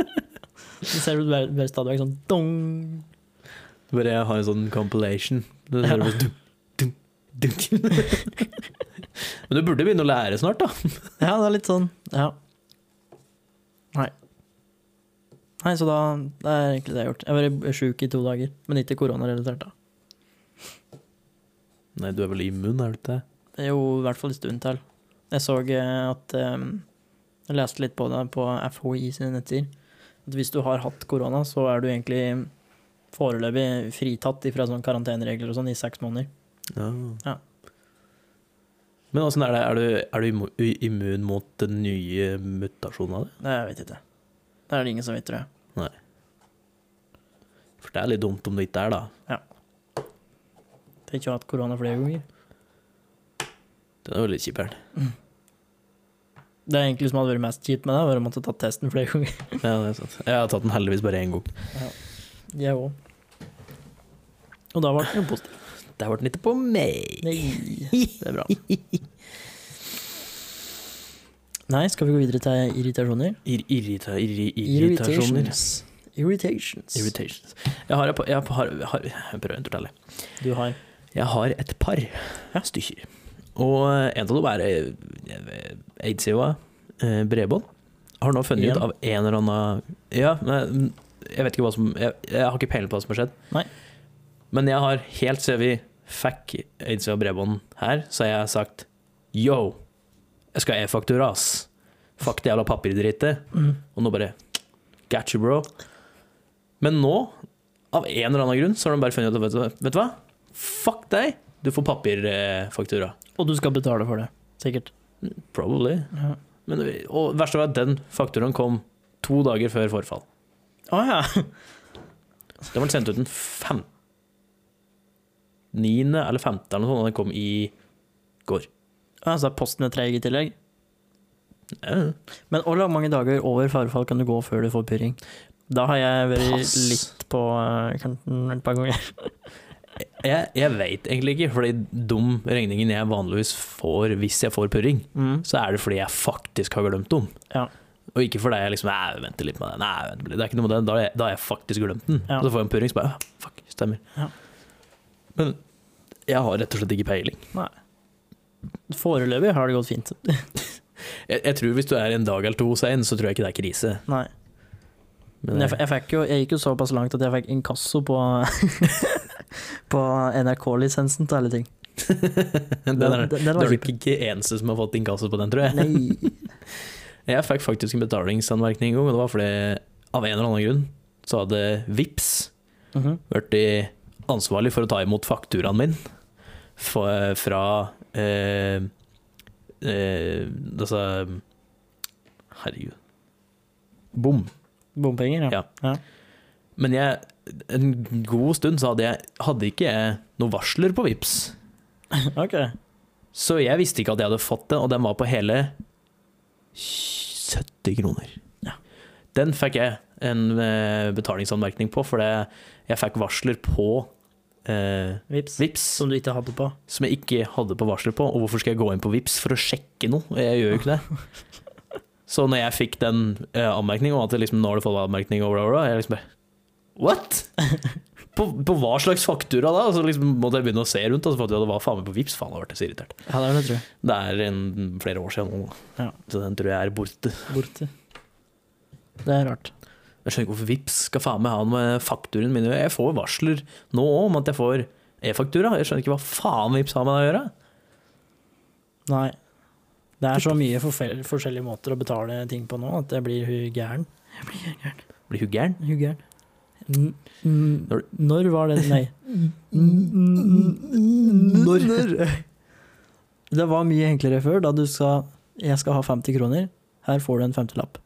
[LAUGHS] Så ser du bare, bare stadig vekk sånn dong. Bare jeg har en sånn compilation. Det er bare dunk, dunk, dunk. Men du burde begynne å lære snart, da. Ja, det er litt sånn. Ja. Nei. Nei, så da Det er egentlig det jeg har gjort. Jeg har vært sjuk i to dager, men ikke koronarelatert, da. Nei, du er vel immun, er du ikke det? Det er jo i hvert fall en stund til. Jeg så eh, at ehm, Jeg leste litt på det på FHI sine nettsider. At hvis du har hatt korona, så er du egentlig foreløpig fritatt fra sånne karanteneregler og sånn i seks måneder. Ja. Ja. Men åssen er det? Er du, er du immu- i- immun mot den nye mutasjonen av det? Det vet jeg ikke. Det er det ingen som vet, tror jeg. For det er litt dumt om det ikke er, da. Tenk å ha hatt korona flere ganger. Den er veldig kjip. her. Det er egentlig som hadde vært mest kjipt med det, var å måtte ta testen flere ganger. Ja, det er sant. Jeg har tatt den heldigvis bare én gang. Jeg òg. Og da ble det jo positivt. Der ble den ikke på meg. Det er bra. [LAUGHS] Nei, skal vi gå videre til irritasjoner? Ir irrita irri irritasjoner. Irritations. Irritations. Irritations. Jeg har, jeg, jeg, har, jeg, har, jeg prøver å fortelle. Du har Jeg har et par stykker. Og en av dem er eh, Aidsjoa eh, Bredbånd. Har nå funnet Igjen? ut av en eller annen Ja, men jeg vet ikke hva som Jeg, jeg har ikke peiling på hva som har skjedd. Nei. Men jeg har helt siden vi fikk Aidsjoa Bredbånd her, så har jeg sagt yo, jeg skal ha e-faktura, ass. Fuck det jævla papirdrittet. Mm. Og nå bare Got you, bro. Men nå, av en eller annen grunn, så har de bare funnet ut at vet du, hva- vet du hva? Fuck deg! Du får papirfaktura. Og du skal betale for det, sikkert. Probably. Ja. Men, og verst av alt, den fakturaen kom to dager før forfall. Å ja. [LAUGHS] Den ble sendt ut den fem... 9. eller 5. eller noe sånt, og den kom i går. Altså, posten er treig i tillegg. Eh, Men hvor mange dager over farefall kan du gå før du får purring? Da har jeg vært Pass. litt på eh, kanten et par ganger. Jeg, jeg veit egentlig ikke, fordi de regningene jeg vanligvis får hvis jeg får purring, Mm. så er det fordi jeg faktisk har glemt dem. Ja. Og ikke fordi jeg liksom Nei, venter litt med det. Nei, vent litt. Det er ikke noe med det. Da har jeg, da har jeg faktisk glemt den. Ja. Og så får jeg en purring, så bare «Ah, Fuck, stemmer. Ja. Men jeg har rett og slett ikke peiling. Foreløpig har det gått fint. Jeg, jeg tror hvis du er en dag eller to sein, så tror jeg ikke det er krise. Nei. Men jeg, jeg, fikk jo, jeg gikk jo såpass langt at jeg fikk inkasso på, [LAUGHS] på NRK-lisensen til alle ting. [LAUGHS] den er, den- den da var er du kjip. ikke eneste som har fått inkasso på den, tror jeg. Nei. Jeg fikk faktisk en betalingsanmerkning en gang, og det var fordi av en eller annen grunn så hadde VIPS Mhm. vært i- ansvarlig for å ta imot fakturaen min fra, fra eh, eh, disse Herregud. Bom. Bompenger, ja. Ja. Men jeg, en god stund så hadde, jeg, hadde ikke jeg noen varsler på VIPS. Ok. Så jeg visste ikke at jeg hadde fått den, og den var på hele 70 kroner. Ja. Den fikk jeg en eh, betalingsanmerkning på, fordi jeg fikk varsler på eh, Vips. VIPS Som du ikke hadde på. som jeg ikke hadde på varsler på, og hvorfor skal jeg gå inn på VIPS for å sjekke noe? Jeg gjør jo ikke det. Så når jeg fikk den eh, anmerkningen, og at det liksom, nå har du fått anmerkning, og bla, bla, bla, jeg liksom bare What?! På, på hva slags faktura da? Og så liksom måtte jeg begynne å se rundt, og så fant jeg ut at det var faen meg på VIPS, faen, jeg ble så irritert. Ja, det er det, tror jeg. Det er en, flere år siden nå, da. Ja. så den tror jeg er borte. Borte. Det er rart. Jeg skjønner ikke hvorfor VIPS skal faen meg ha noe med fakturaen min å gjøre. Jeg får varsler nå òg om at jeg får e-faktura. Jeg skjønner ikke hva faen VIPS har med det å gjøre. Nei. Det er så mye forfe- forskjellige måter å betale ting på nå at jeg blir hu gæren. Blir hun gæren? Hu gæren. N- n- Når- Når var det Nei. [LAUGHS] Det var mye enklere før, da du sa jeg skal ha 50 kroner, her får du en 50-lapp.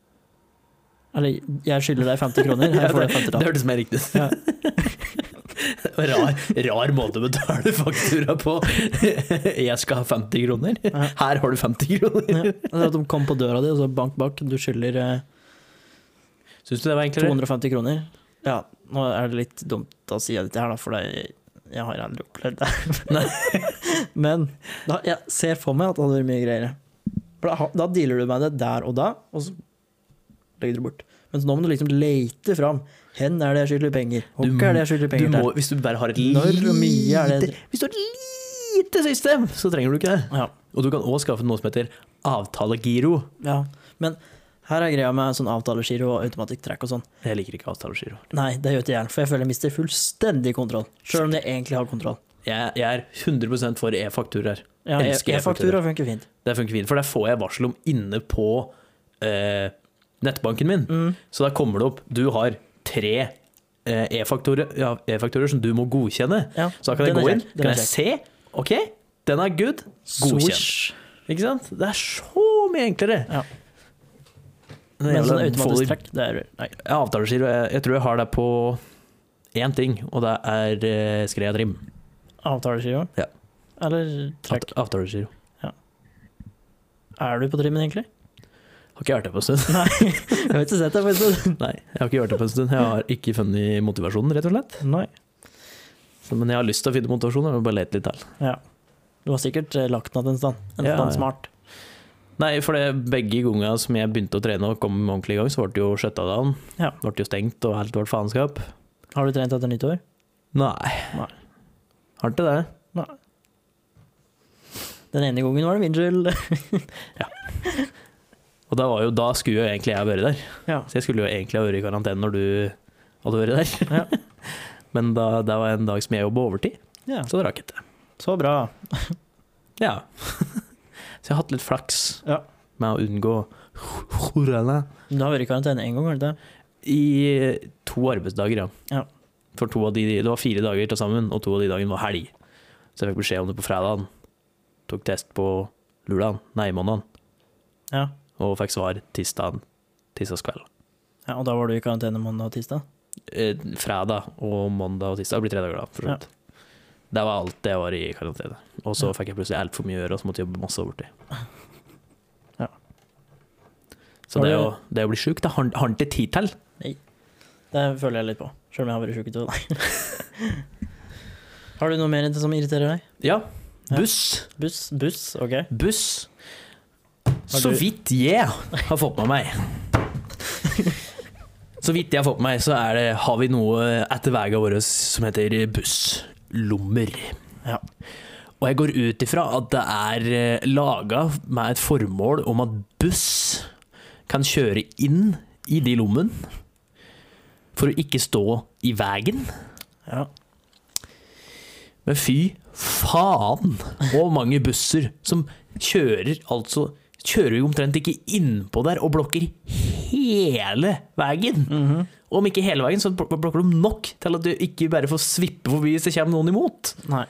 Eller jeg skylder deg 50 [LAUGHS] kroner, her får du en Det 50-lapp. hørtes mer riktig ut. [LAUGHS] Ja. rar, rar måte å betale faktura på. [LAUGHS] Jeg skal ha 50 kroner. Ja. Her har du 50 kroner. Ja. Eller at de kom på døra di og så bank, bank, du skylder eh, Syns du det var enklere? 250 kroner. Ja, nå er det litt dumt å si dette her, da, for jeg, jeg har aldri opplevd [LAUGHS] det. Men da, jeg ser for meg at det hadde vært mye greiere. For da, ha- da dealer du med det der og da, og så legger du det bort. Men så nå må du liksom lete fram. Hen er det jeg skylder penger? Du Hvor er det jeg skylder Du penger må, til? hvis du bare har et Når og mye er det- lite- Hvis du har et lite system, så trenger du ikke det. Ja, Og du kan òg skaffe noe som heter avtalegiro. ja. Men her er greia med sånn avtalegiro og automatikktrekk og sånn. Jeg liker ikke avtalegiro. Nei, det gjør ikke jeg, for jeg føler jeg mister fullstendig kontroll. Sjøl om jeg egentlig har kontroll. Jeg, jeg er 100 for e-fakturaer. Ja, Elsker jeg E-faktura funker fint. Det funker fint, for der får jeg varsel om inne på eh, nettbanken min. Mm. Så der kommer det opp Du har tre eh, e-faktorer ja, e-faktorer som du må godkjenne. Ja, Så da kan jeg den er gå inn, kjekk, den kan er jeg se. OK, den er good. Godkjent. Swish. Ikke sant? Det er så mye enklere. Ja. Den Men sånn jævla automatisk folder- trekk, det er Nei. Ja, avtalegiro. Jeg, jeg tror jeg har det på én ting, og det er eh, Skreatrim. Avtalegiro? Ja. Eller trekk. Avtalegiro. Er du på trimmen, egentlig? Har ikke vært det på en stund. [LAUGHS] Nei, jeg har ikke sett det på en sånn- stund. Nei, jeg har ikke vært det på en stund. Jeg har ikke funnet motivasjonen, rett og slett. [LAUGHS] Nei. Så, men jeg har lyst til å finne motivasjon, jeg må bare lete litt til. Ja. Du har sikkert eh, lagt den til en stand. En Ja, stand ja. smart. Nei, for det, begge ganger som jeg begynte å trene og kom ordentlig i gang, så ble det jo skjøtta down. Ja. Ble det jo stengt og helt ble faenskap. Har du trent etter nyttår? Nei. Nei. Har ikke det. Den ene gangen var det min skyld. Og da, var jo, da skulle jo egentlig jeg vært der. Ja. Så jeg skulle jo egentlig ha vært i karantene når du hadde vært der. Ja. [LAUGHS] Men da, det var en dag som jeg jobba overtid, [LAUGHS] ja. så det rakk jeg ikke. Så bra. Ja. [LAUGHS] så jeg har hatt litt flaks Ja. med å unngå [LAUGHS] korona. Men Du har vært i karantene én gang, har du ikke? I to arbeidsdager, ja. Ja. For to av de, det var fire dager til sammen, og to av de dagene var helg. Så jeg fikk beskjed om det på fredagen. Tok test på lørdagen, nei, mandagen, Ja. og fikk svar tirsdagen. Tirsdagskveld. ja. Og da var du i karantene mandag og tirsdag? Eh, fredag og mandag og tirsdag det blir tre dager, da. For så Ja. vidt. Det var alt det var i karantene. Og så Ja. fikk jeg plutselig altfor mye å gjøre, og så måtte jeg jobbe masse overtid. [LAUGHS] Ja. Så Var det, det- å, det å bli sjuk, det har har han ikke tid til. Det føler jeg litt på, sjøl om jeg har vært sjuk i to dager. [LAUGHS] har du noe mer som irriterer deg? Ja. Ja. Buss. Buss? Buss, OK. buss. Har Så du- vidt jeg har fått med meg. [LAUGHS] Så vidt jeg har fått med meg, så er det, har vi noe etter veien vår som heter busslommer. Ja. Og jeg går ut ifra at det er laga med et formål om at buss kan kjøre inn i de lommene for å ikke stå i veien. Ja. Men fy faen hvor mange busser som kjører altså Kjører jo omtrent ikke innpå der og blokker hele veien. Mhm. Og om ikke hele veien, så blok- blokker de nok til at du ikke bare får svippe forbi hvis det kommer noen imot. Nei.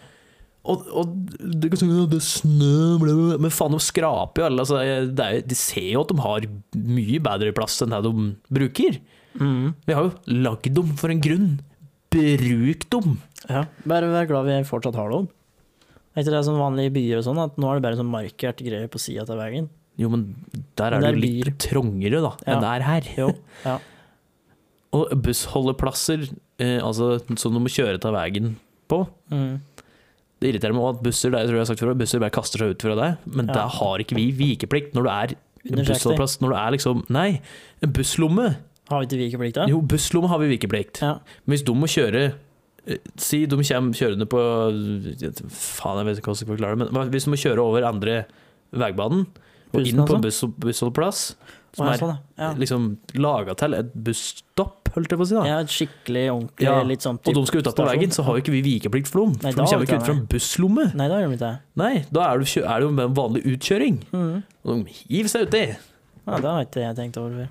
Og, og det kan si, det er snø, bla, bla, bla. men faen, de skraper jo alle. Altså, det er, jo- de ser jo at de har mye bedre plass enn det de bruker. Mhm. Vi har jo lagd dem for en grunn. Bruk dem! Ja. Bare vær glad vi fortsatt har dem. Er ikke det som vanlig i byer og sånn, at nå er det bare sånn markert greier på sida av veien? Jo, men der Men er det det jo er litt trangere da, Ja. enn det er her. Jo. Ja. Og bussholdeplasser, eh, altså som du må kjøre til veien på. Mhm. Det irriterer meg også at busser det tror jeg jeg har sagt før, busser bare kaster seg ut fra deg, men Ja. der har ikke vi vikeplikt når du er en Under 60. bussholdeplass. Når du er liksom Nei, en busslomme! Har vi ikke vikeplikt da? Jo, busslomme har vi vikeplikt. Ja. Men hvis de må kjøre eh, Si de kommer kjørende på Faen, jeg vet ikke hvordan jeg skal forklare det, men hvis de må kjøre over andre veibanen og Bussen, inn på en altså? buss, bussholdeplass, som Å, ja, er sånn, ja. Ja. liksom laga til et busstopp, holdt jeg på å si. da. Ja, et skikkelig ordentlig Ja, litt sånn Og de typ skal utenfor stasjon. veien, så har jo ikke vi vikeplikt for dem. Nei, da For de har kommer vi ikke ikke ut fra en busslomme. Nei, da gjør de ikke det. Nei, da er det jo kjø- er det jo bare en vanlig utkjøring. Mhm. Og de hiver seg uti. Ja, det har ikke jeg tenkt over før.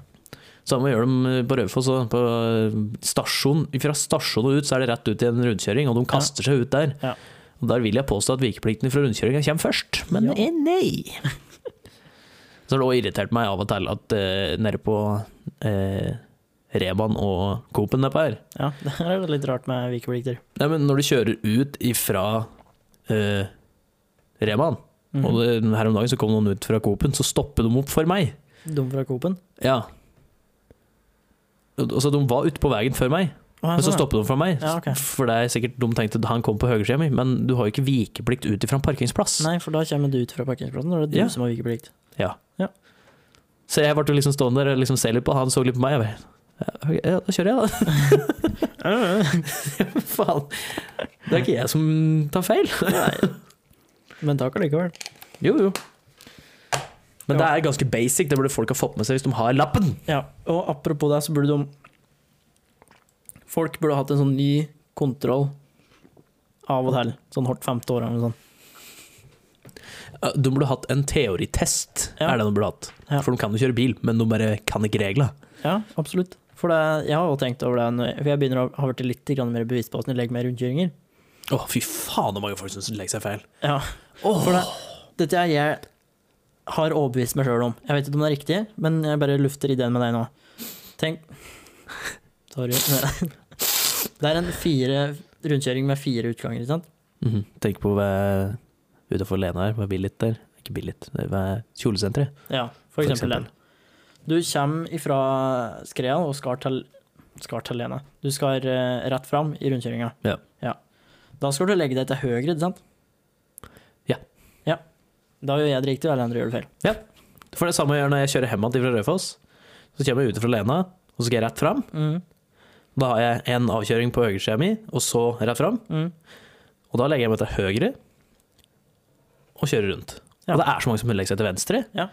Samme gjør de eh, på Raufoss. og På eh, stasjon, fra stasjonen og ut så er det rett ut i en rundkjøring, og de kaster seg ut der. Ja. Og Der vil jeg påstå at vikeplikten fra rundkjøringa kommer først, men Ja. eh, nei. Så har det òg irritert meg av og til at eh, nede på eh, Reban og Coop-en nedpå her Ja, [LAUGHS] det er jo litt rart med vikeplikter. Nei, men når du kjører ut ifra uh, Reman, Mhm. og det, her om dagen så kom noen ut fra Coop-en, så stoppet de opp for meg. Dum fra Coop-en. Ja. Og- Altså, de var ute på veien før meg, Å, ja, men så sånn, ja. stoppet de for meg. Ja, ok. For det er sikkert de tenkte at han kom på høyresida mi, men du har jo ikke vikeplikt ut ifra en parkeringsplass. Nei, for da kommer du ut fra parkeringsplassen, og det er du Ja. som har vikeplikt. Så jeg ble jo liksom stående der og liksom se litt på han, så litt på meg. Jeg bare, ja, ok, ja, da kjører jeg, [LAUGHS] da. [LAUGHS] Faen. Det er ikke jeg som tar feil. Men takk allikevel. Jo, jo. Men Ja. det er ganske basic. Det burde folk ha fått med seg hvis de har lappen. Ja, og apropos det, så burde de Folk burde hatt en sånn ny kontroll av og til, sånn hvert femte år eller noe sånt. De burde hatt en teoritest, Ja. er det de burde hatt. Ja. For de kan jo kjøre bil, men de bare kan ikke reglene. Ja, absolutt. For det, jeg har jo tenkt over det, når jeg- for jeg begynner å ha blitt litt grann mer bevisst på åssen jeg legger med rundkjøringer. Å, fy faen hvor mange folk som legger seg feil. Ja. Åh. For det, dette er jeg har overbevist meg sjøl om. Jeg vet ikke om det er riktig, men jeg bare lufter ideen med deg nå. Tenk [LAUGHS] Sorry. [LAUGHS] Det er en fire rundkjøring med fire utganger, ikke sant? Mhm. Tenk på ved utafor Lena her, ved Billit der. Ikke Billit, det er ved kjolesenteret. Ja, for For eksempel den. Du kommer ifra skreia og skal til skal til Lene. Du skal eh, rett fram i rundkjøringa. Ja. Da skal du legge deg til høyre, ikke sant? Ja. Ja. Da gjør jeg det riktig, og alle andre gjør det feil. For det samme jeg gjør når jeg kjører hjem igjen fra Raufoss. Så kommer jeg ut fra Lena, og så skal jeg rett fram. Mm. Da har jeg en avkjøring på høyresida mi, og så rett fram. Mm. Og da legger jeg meg til høyre og kjører rundt. Ja. Og det er så mange som legger seg til venstre. Ja.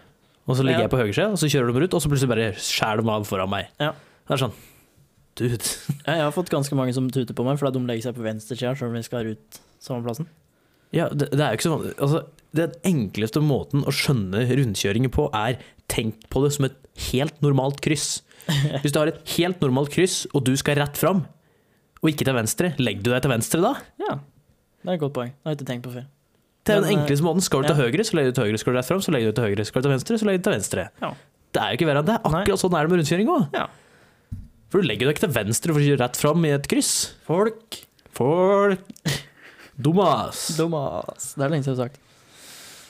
Og så ligger Ja. jeg på høyresida, og så kjører de rundt, og så plutselig bare skjærer de av foran meg. Ja. Det er sånn Dude. [LAUGHS] Ja, Jeg har fått ganske mange som tuter på meg fordi de legger seg på venstresida selv om vi skal ut samme [LAUGHS] plassen. Ja, det, det er jo ikke så vanlig. Altså, den enkleste måten å skjønne rundkjøringer på, er tenk på det som et helt normalt kryss. Hvis du har et helt normalt kryss, og du skal rett fram, og ikke til venstre, legger du deg til venstre da? Ja. Det er et godt poeng. Det har jeg ikke tenkt på før. Det er den Men, eh, enkleste måten. Skal du til høyre, så legger du til høyre. Skal du rett fram, så legger du til høyre. Skal du til venstre, så legger du til venstre. Ja. Det er jo ikke verre enn det. Akkurat sånn er det med rundkjøring òg. Ja. For du legger deg ikke til venstre for å kjøre rett fram i et kryss. Folk Folk Dumas. Domas. Det er lenge siden jeg har sagt.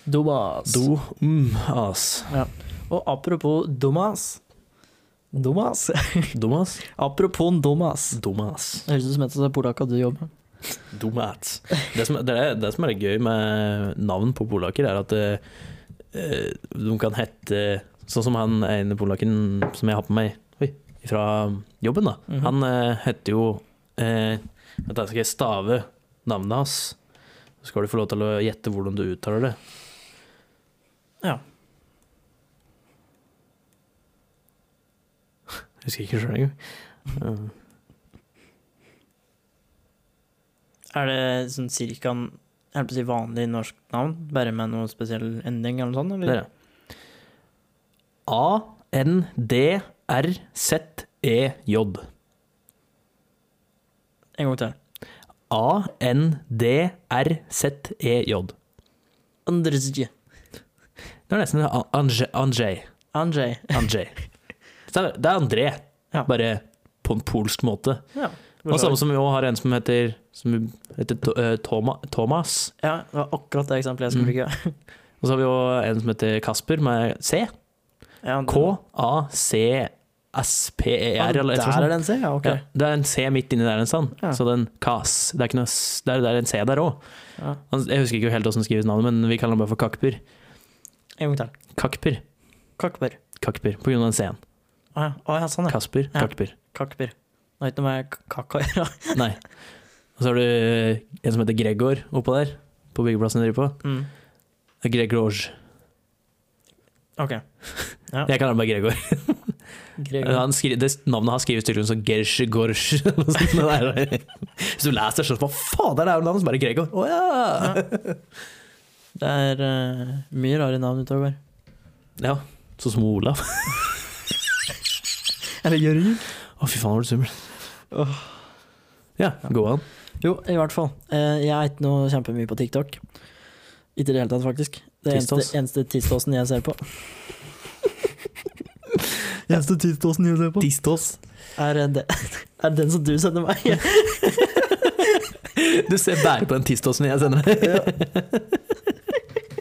Domas. Dumas. Og apropos Domas Domas. Dumas. apropos Domas. Dumas. Det høres ut som et av de polakka du jobber med. Domat. Det som, det, er, det som er gøy med navn på polakker, er at eh, eh, de kan hete Sånn som han ene polakken som jeg har på meg oi, fra jobben, da. Mhm. Han eh, heter jo uh, Vent, da skal jeg stave navnet hans. Så skal du få lov til å gjette hvordan du uttaler det. Ja. [LAUGHS] Jeg husker ikke sjøl engang. [LAUGHS] Eh, Er det sånn cirka en jeg holdt på å si vanlig norsk navn, bare med noe spesiell ending eller noe sånt? Eller? Der, ja. A-N-D-R-Z-E-J. En gang til. A-N-D-R-Z-E-J. Andrzej. Det er nesten An- Anje. Anje. Andrzej. Anje. Så Det er- det er André, Ja. bare på en polsk måte. Ja. Og samme som vi også har en som heter, som heter To- eh, Toma, Thomas. Ja, det var akkurat det eksempelet jeg skulle bruke. Og så har vi også en som heter Kasper, med C. Ja, den- E K-A-C-S-P-E-R, E eller et eller annet Ah, Der sånt. er den, se. Ja, ok. Ja, det er en C midt inni der en sånn. Ja. Så den kas, det er ikke noe s- det er, det er en C der òg. Ja. Jeg husker ikke helt hvordan skrives navnet, men vi kaller den bare for Kakper. En gang til. Kakper. Kakber. Kakper, på grunn av den C-en. Å ja. Å, ja, sånn ja. Kasper, Ja. Kakper. Kakber. Det har ikke noe med k- kaka å gjøre. Nei. Og så har du en som heter Gregor oppå der, på byggeplassen jeg driver på. Mm. Gregor. Ok. Ja. Jeg kaller den bare Gregor. Gregor. Han skri, det, navnet hans skrives tydeligvis som Gersh Gorsh. [LAUGHS] eller noe sånt. Det er- Hvis du leser sånn, hva fader det er jo navnet? Så bare Gregor. Å ja! [LAUGHS] Det er eh, mye rare navn ute og går. ja. Sånn som Olav. Eller Jørgen. Å, fy faen, var du summel. Åh. Ja, gå an. Jo, i hvert fall. Eh, jeg er ikke noe kjempemye på TikTok. Ikke i det hele tatt, faktisk. Det eneste, Tistos. eneste tiståsen jeg ser på. eneste tiståsen jeg ser Tistos. Er, eh, det, [LAUGHS] er den som du sender meg. [LAUGHS] Du ser bare på den tistosen jeg sender deg. [LAUGHS]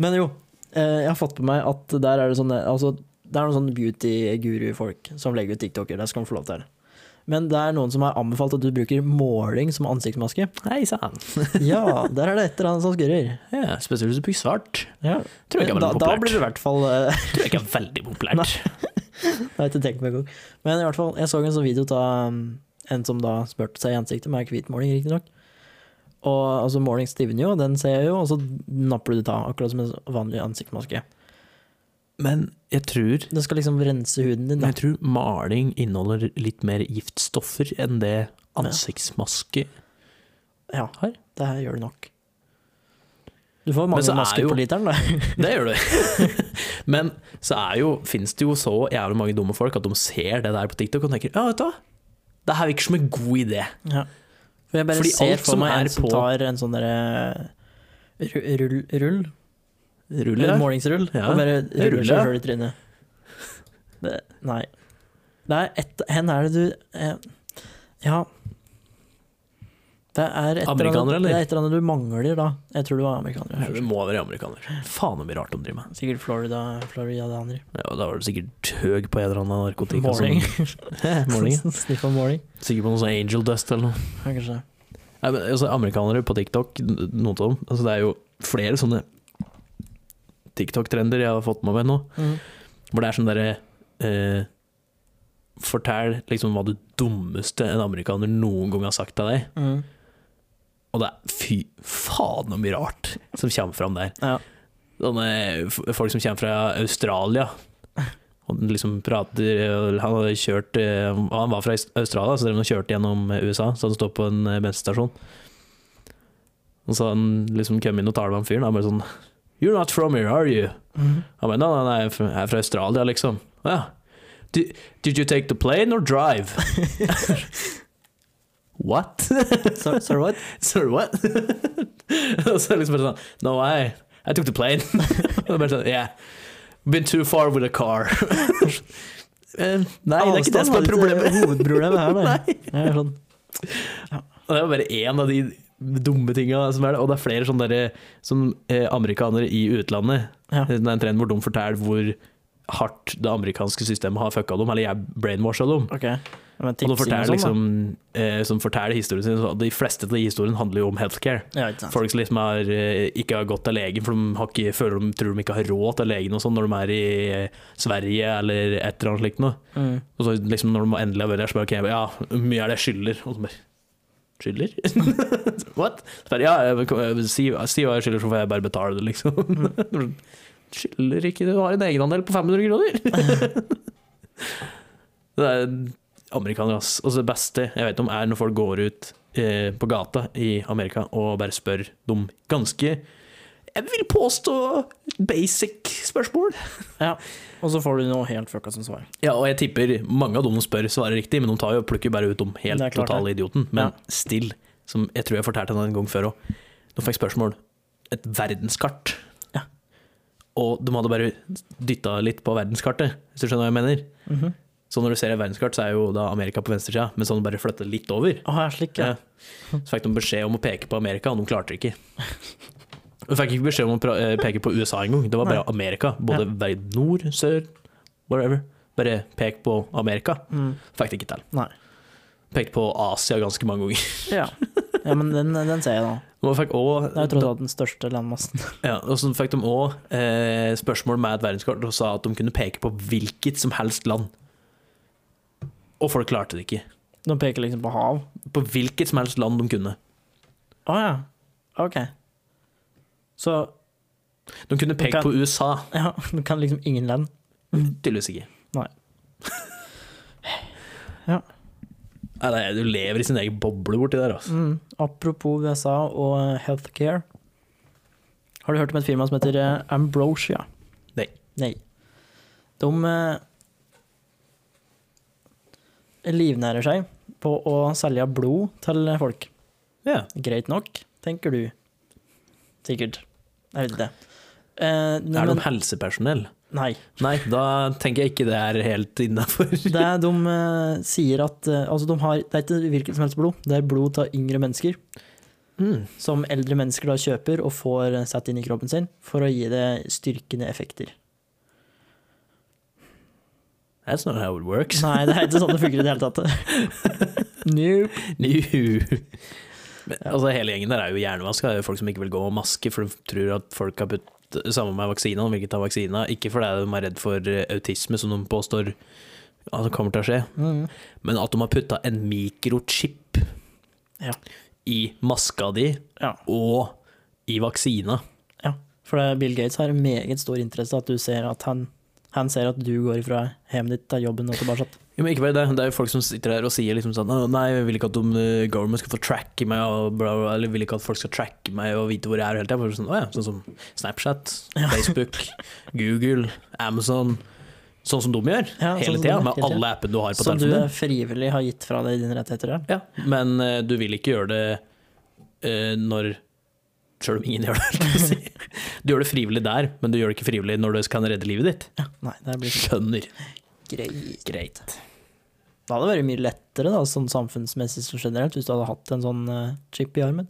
Men jo, eh, jeg har fått på meg at der er det sånne altså, Det er noen sånne beauty-guru-folk som legger ut TikToker. Det skal de få lov til. Men det er noen som har anbefalt at du bruker måling som ansiktsmaske. Hei sann. Ja, der er det et eller annet som skurrer. Ja, spesielt hvis du blir svart. Ja. Tror jeg ikke er Da, veldig da populært. blir det i hvert fall eh, Tror jeg ikke er veldig populært. Jeg har ikke tenkt meg engang. Men i hvert fall, jeg så en sånn video av um, en som da spurte seg i ansiktet, med hvitmåling, riktignok. Og altså, måling stivner jo, den ser jeg jo, og så napper du det av, akkurat som en vanlig ansiktsmaske. Men jeg tror, Den skal liksom rense huden din, da. jeg tror maling inneholder litt mer giftstoffer enn det ansiktsmaske Ja, Her? det her gjør du nok. Du får Men mange så er masker jo- på literen, [LAUGHS] da. Det [LAUGHS] gjør du. Men så er jo, finnes det jo så jævlig mange dumme folk at de ser det der på TikTok og tenker ja, vet du hva, det her virker som en god idé. For jeg bare Fordi alt ser for som meg er en som på- tar en sånn derre ru- rull, rull Ruller det? Målingsrull. Ja. Og bare ruller, ruller ja. seg sjøl i trynet. Det, nei. Det er ett Hen er det du eh, Ja. Det Det er et eller annet- Amerikaner, eller? Det er et eller annet du mangler da. Jeg tror du var amerikaner. Det må være amerikaner. Faen så mye rart de driver med. Sikkert Florida, Floridianere. Ja, og da var det sikkert høg på en eller annen narkotika. Måling. Som, [LAUGHS] Måling. [LAUGHS] Sniff av måling. [LAUGHS] Sikkert på noe sånn angel dust eller noe. Ja, kanskje det. Nei, men altså, Amerikanere på TikTok, n- noen av dem. Altså, det er jo flere sånne TikTok-trender jeg har fått med meg nå. Mm. Hvor det er sånn derre eh, Fortell liksom hva det dummeste en amerikaner noen gang har sagt til deg. Mm. Og det er fy faen så mye rart som kommer fram der. Ja. Sånne f- folk som kommer fra Australia. Og den liksom prater og Han hadde kjørt eh, Han var fra Aust- Australia, så drev han og kjørte gjennom eh, USA. Så han stod på en eh, bensinstasjon. Og så han liksom kom inn og talte med han fyren. Han bare sånn You're not from here, are you? Mm. Han bare, nei, nei, nei, jeg er fra- jeg er fra Australia, liksom. «Å Ja. Did, did you take the plane or drive? [LAUGHS] What? So, so what? [LAUGHS] Sorry, what? og så er det liksom bare sånn No, I, I took the plane. [LAUGHS] og det er bare sånn, yeah. Been too far with a car. [LAUGHS] Eh, nei, det er ikke det som er eh, problemet. Hovedproblemet [LAUGHS] her, da. Nei. Det er sånn, Og det er bare én av de dumme tinga som er det. Og det er flere sånne derre som eh, amerikanere i utlandet. ja. Det er en trend hvor de forteller hvor hardt det amerikanske systemet har fucka dem, eller jeg brainwasha dem. Ok. Men Og de tipsing forteller, og sånn, liksom, eh, som forteller historien sin, så de fleste av de historiene handler jo om healthcare. da. Ja, ikke sant. Folk som liksom har, eh, ikke har gått til legen, for de, har ikke, føler de tror de ikke har råd til legen og sånn når de er i eh, Sverige eller et eller annet slikt noe. Mm. Og så liksom når de endelig har vært der, så bare ok, ja, hvor mye er det jeg skylder? Og så bare Skylder? [LAUGHS] What? Så bare, ja, jeg- jeg- si, si hva jeg skylder, så får jeg bare betale det, liksom. [LAUGHS] skylder ikke, du har en egenandel på 500 kroner! [LAUGHS] det er amerikanere, ass. Og så det beste jeg vet om, er når folk går ut eh, på gata i Amerika og bare spør dem ganske jeg vil påstå basic spørsmål. Og så får du noe helt fucka som svar. Ja, og jeg tipper mange av dem som spør, svarer riktig, men de tar jo og plukker bare ut de helt Det er klart totale idioten. Men Ja. still, som jeg tror jeg fortalte henne en gang før òg, de fikk spørsmål et verdenskart. Ja. Og de hadde bare dytta litt på verdenskartet, hvis du skjønner hva jeg mener. Mhm. Så når du ser et verdenskart, så er jo da Amerika på venstresida, men så hadde de bare flytta litt over. Å, jeg slik, ja. Ja. Mm. Så fikk de beskjed om å peke på Amerika, og de klarte det ikke. De fikk ikke beskjed om å pra- eh, peke på USA engang, det var bare Amerika. Både vei nord, sør, whatever. Bare pek på Amerika. Mm. Fikk det ikke til. Nei. Pekte på Asia ganske mange ganger. [LAUGHS] Ja. ja, men den, den ser jeg nå. Og fikk også, Det er jo tross alt den største landmassen. ja, og så fikk de òg eh, spørsmål med et verdenskart og sa at de kunne peke på hvilket som helst land. Og folk klarte det ikke. De peker liksom på hav. På hvilket som helst land de kunne. Å ja. Ok. Så De kunne peke Kan- på USA. ja, du kan liksom ingen land. Tydeligvis ikke. Mm. [LAUGHS] Nei. Ja. Nei, nei, du lever i sin egen boble borti der, altså. Mm. Apropos USA og eh, healthcare. Har du hørt om et firma som heter eh, Ambrosia? Nei. Nei. De eh, livnærer seg på å selge blod til folk. Ja. Greit nok, tenker du. Sikkert. Jeg vet ikke. Eh, Er men- de helsepersonell? Nei. Nei, da tenker jeg ikke det er helt innafor. Det [LAUGHS] er, de eh, sier at eh, altså de har, Det er ikke hvilket som helst blod, det er blod av yngre mennesker. Mm. Som eldre mennesker da kjøper og får eh, satt inn i kroppen sin for å gi det styrkende effekter. That's not how it works. Nei, det er ikke sånn det funker i det hele tatt. [LAUGHS] Nope. Nju. [LAUGHS] Men, altså, hele gjengen der er jo hjernevaska. Det er jo folk som ikke vil gå med maske, for de tror at folk har putt Samme med vaksina, de vil ikke ta vaksina. Ikke fordi de er redd for eh, autisme, som de påstår at det kommer til å skje, Mm. men at de har putta en mikrochip Ja. i maska di Ja. og i vaksina. ja. For det, Bill Gates har en meget stor interesse at du ser at han, han ser at du går fra hjemmet ditt til jobben og tilbake. Ja, men ikke bare det. Det er jo folk som sitter der og sier liksom sånn «Å, Nei, jeg vil ikke at de, eh, government skal få tracke meg, og bla, bla, bla, eller vil ikke at folk skal tracke meg og vite hvor jeg er hele tida. Sånn, «Å ja, sånn som Snapchat, [LAUGHS] Facebook, Google, Amazon. Sånn som de gjør. Ja, sånn hele som de tida, gjør, med hele tiden. alle appene du har på Som du telefonen. din. frivillig har gitt fra deg dine rettigheter. Ja. Ja, men eh, du vil ikke gjøre det eh, når Sjøl om ingen gjør det. [LAUGHS] skal jeg Si. Du gjør det frivillig der, men du gjør det ikke frivillig når du kan redde livet ditt. Nei, det blir Skjønner. greit. greit. Det hadde vært mye lettere da, sånn samfunnsmessig som generelt, hvis du hadde hatt en sånn eh, chip i armen.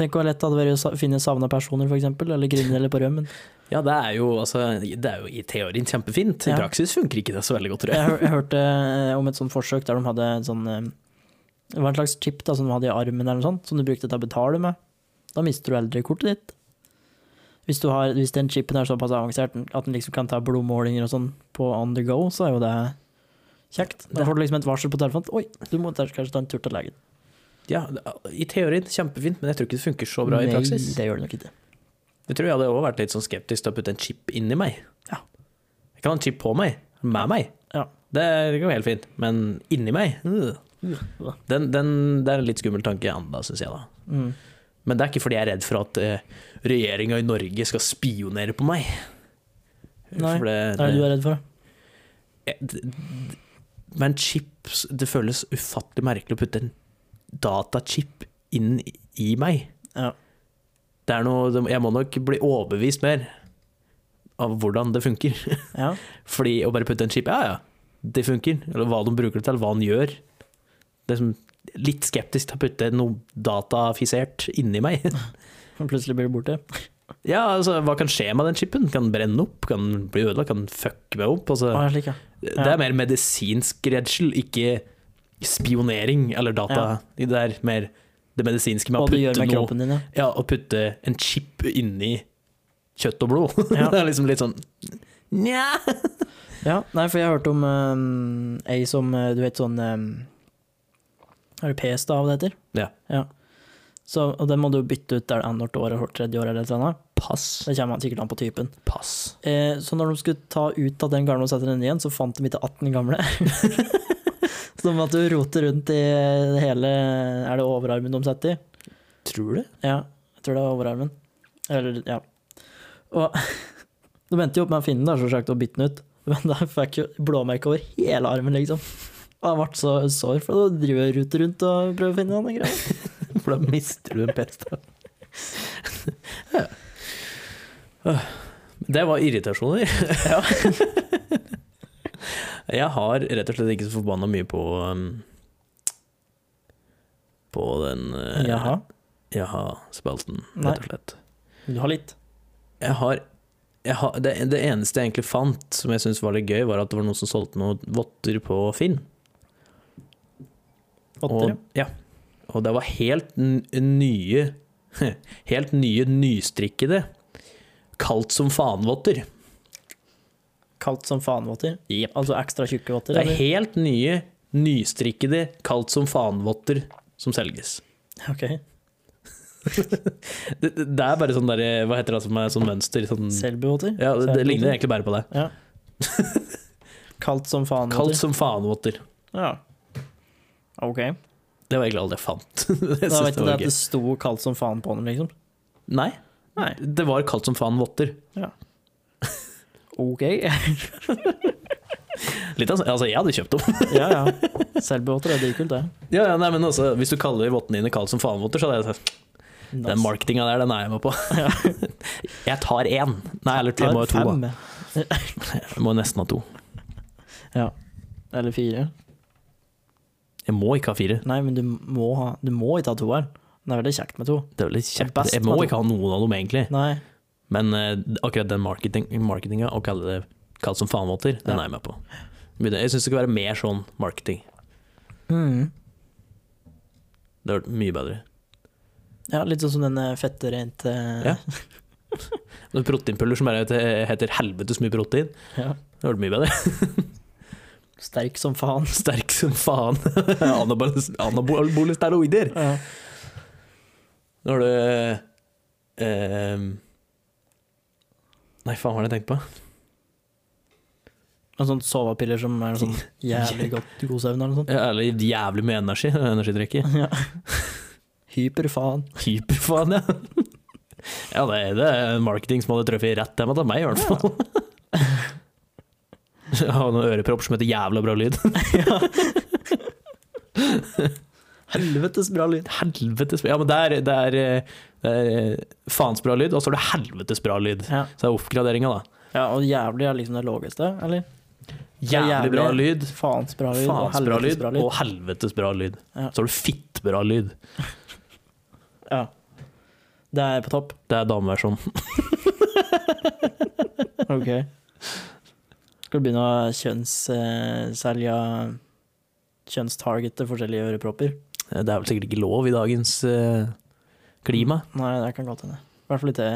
Tenk hvor lett det hadde vært å sa- finne savna personer, f.eks., eller kriminelle på rømmen. Ja, det er jo, altså, det er jo i teorien kjempefint. I Ja. praksis funker ikke det så veldig godt, tror Jeg, jeg. hør- jeg hørte eh, om et sånt forsøk der de hadde en sånn eh, Det var en slags chip da, som de hadde i armen, eller noe sånt, som du brukte til å betale med. Da mister du aldri kortet ditt. Hvis, du har, hvis den chipen er såpass avansert at den liksom kan ta blodmålinger og sånn på on the go, så er jo det kjekt. Da får du liksom et varsel på telefonen. Oi, du må kanskje ta en tur til legen. Ja, I teorien kjempefint, men jeg tror ikke det funker så bra i praksis. Nei, det gjør det nok ikke. Jeg tror jeg hadde også vært litt sånn skeptisk til å putte en chip inni meg. Ja. Jeg kan ha en chip på meg, med meg. Ja. Det går helt fint, men inni meg øh. den, den, Det er en litt skummel tanke enda, synes jeg. da. Mm. Men det er ikke fordi jeg er redd for at eh, regjeringa i Norge skal spionere på meg. Nei, For det, Hva det, er det du er redd for? jeg- Eh, d- d- Men chips Det føles ufattelig merkelig å putte en datachip inn i meg. Ja. Det er noe det- Jeg må nok bli overbevist mer av hvordan det funker. Ja. Fordi å bare putte en chip Ja, ja, det funker. Eller hva de bruker det til, hva den gjør. Det er som litt skeptisk til å putte noe datafisert inni meg. [LAUGHS] Plutselig blir du borte. Ja, altså, hva kan skje med den chipen? Kan den brenne opp? Kan den bli ødelagt? Kan den fucke meg opp? Altså, Å, Ah, ja, slik, ja. Det er mer medisinsk redsel, ikke spionering eller data. Det er mer det medisinske med Hva å du gjør putte, med noe, kroppen din, ja. ja, å putte en chip inni kjøtt og blod. [LAUGHS] Ja. det er liksom litt sånn Nja Ja, nei, for jeg hørte om um, ei som eh, Du vet sånn um, Er det PS da, hva det heter? Ja. Så, og den må du bytte ut der annethvert år eller hvert tredje år eller et eller annet. Pass. Det kommer sikkert an på typen. Pass. Eh, så når de skulle ta ut av den gamle og sette den igjen, så fant de ikke 18 [LAUGHS] gamle. [LAUGHS] så de måtte jo rote rundt i eh, hele Er det overarmen de setter i? Tror du? Ja, jeg tror det var overarmen. Eller, ja. Og [LAUGHS] de endte jo opp med å finne den, så sagt, og bytte den ut. Men da fikk jo blåmerke over hele armen, liksom. Og jeg ble så sår, for da driver jeg rute rundt og prøver å finne den greia. For da [LAUGHS] mister du en pesta. [LAUGHS] Det var irritasjoner. [LAUGHS] Jeg har rett og slett ikke så forbanna mye på um, På den eh, [LAUGHS] Jaha, Jaha-spalten, Nei. rett og slett. du har litt. Jeg har, jeg har det, det eneste jeg egentlig fant som jeg syntes var litt gøy, var at det var noen som solgte noen votter på Finn. Åtter, ja. Og, ja. og det var helt n nye [LAUGHS] Helt nye nystrikkede kaldt som fanvotter. kaldt som fanvotter. Jep. Altså ekstra tjukke votter. Det er eller? helt nye nystrikkede kaldt som fanvotter som selges. Ok, Det, det, det er bare sånn derre Hva heter det som er sånn mønster? Sånn, Selbuvotter. ja, det, det ligner egentlig bare på det. [LAUGHS] Ja. Kaldt som Kaldt fanvotter. som fanvotter. Ja. Ok. Det var egentlig alt jeg fant. [LAUGHS] Jeg Da synes vet det du det var at gøy. det sto kaldt som faen på den, liksom. Nei, Nei. det var kaldt som fanvotter. Ok. Litt av- Altså, jeg hadde kjøpt dem. ja, ja. Selbuvotter er dritkult, det. [LAUGHS] Ja, ja, nei, men altså, hvis du kaller vottene dine kaldt som fanvotter, så hadde jeg sagt Den marketinga der, den er jeg med [LAUGHS] på. jeg tar én. Nei, eller jeg må ha to. Da. Jeg må nesten ha to. Eller fire. Jeg må ikke ha fire. Nei, men du må, ha, du må ikke ha toeren. Det er veldig kjekt med to. Det er veldig Det er best kjekt. Jeg må med to. ikke ha noen av dem, egentlig. Nei. Men eh, akkurat den marketing, marketinga, å kalle det kalt som fanvotter, den Ja. er jeg med på. Men det- Jeg syns det skal være mer sånn marketing. Mm. Det hadde vært mye bedre. Ja, litt sånn som den eh, fetterente Ja. Noen proteinpuller som bare heter, heter helvetes mye protein, Ja. det hadde vært mye bedre. [LAUGHS] Sterk som faen. Sterk som [LAUGHS] faen. Anabol- Anabole steroider. Ja. Nå har du ehm, Nei, faen, hva har jeg tenkt på? Og sånne sovepiller som er [LAUGHS] sånn jævlig godt god søvn eller noe sånt. Ja, Eller jævlig mye energi. [LAUGHS] Energidrikke. [LAUGHS] Ja. Hyperfaen. Hyperfaen, ja. [LAUGHS] Ja, det, det er marketing som hadde truffet rett hjemme til meg, i hvert fall. [LAUGHS] Jeg har noen ørepropper som heter 'jævla bra lyd'. [LAUGHS] Helvetes bra lyd. Helvetes bra Ja, men det er, det er, eh, det er eh, faens bra lyd, og så er det helvetes bra lyd. Ja. Så det er oppgraderinga, da. ja, og jævlig er liksom det lågeste, eller? Jævlig bra jævlig. lyd. Faens bra lyd. og Faens bra helvetes lyd. Og helvetes bra lyd. Ja. Så har du fittbra lyd. Ja. Det er på topp. Det er dameversjonen. Ok. Skal du begynne å kjønnsselge Kjønnstargete forskjellige ørepropper? Det er vel sikkert ikke lov i dagens eh, klima. Mm. Nei, det kan godt hende. I hvert fall ikke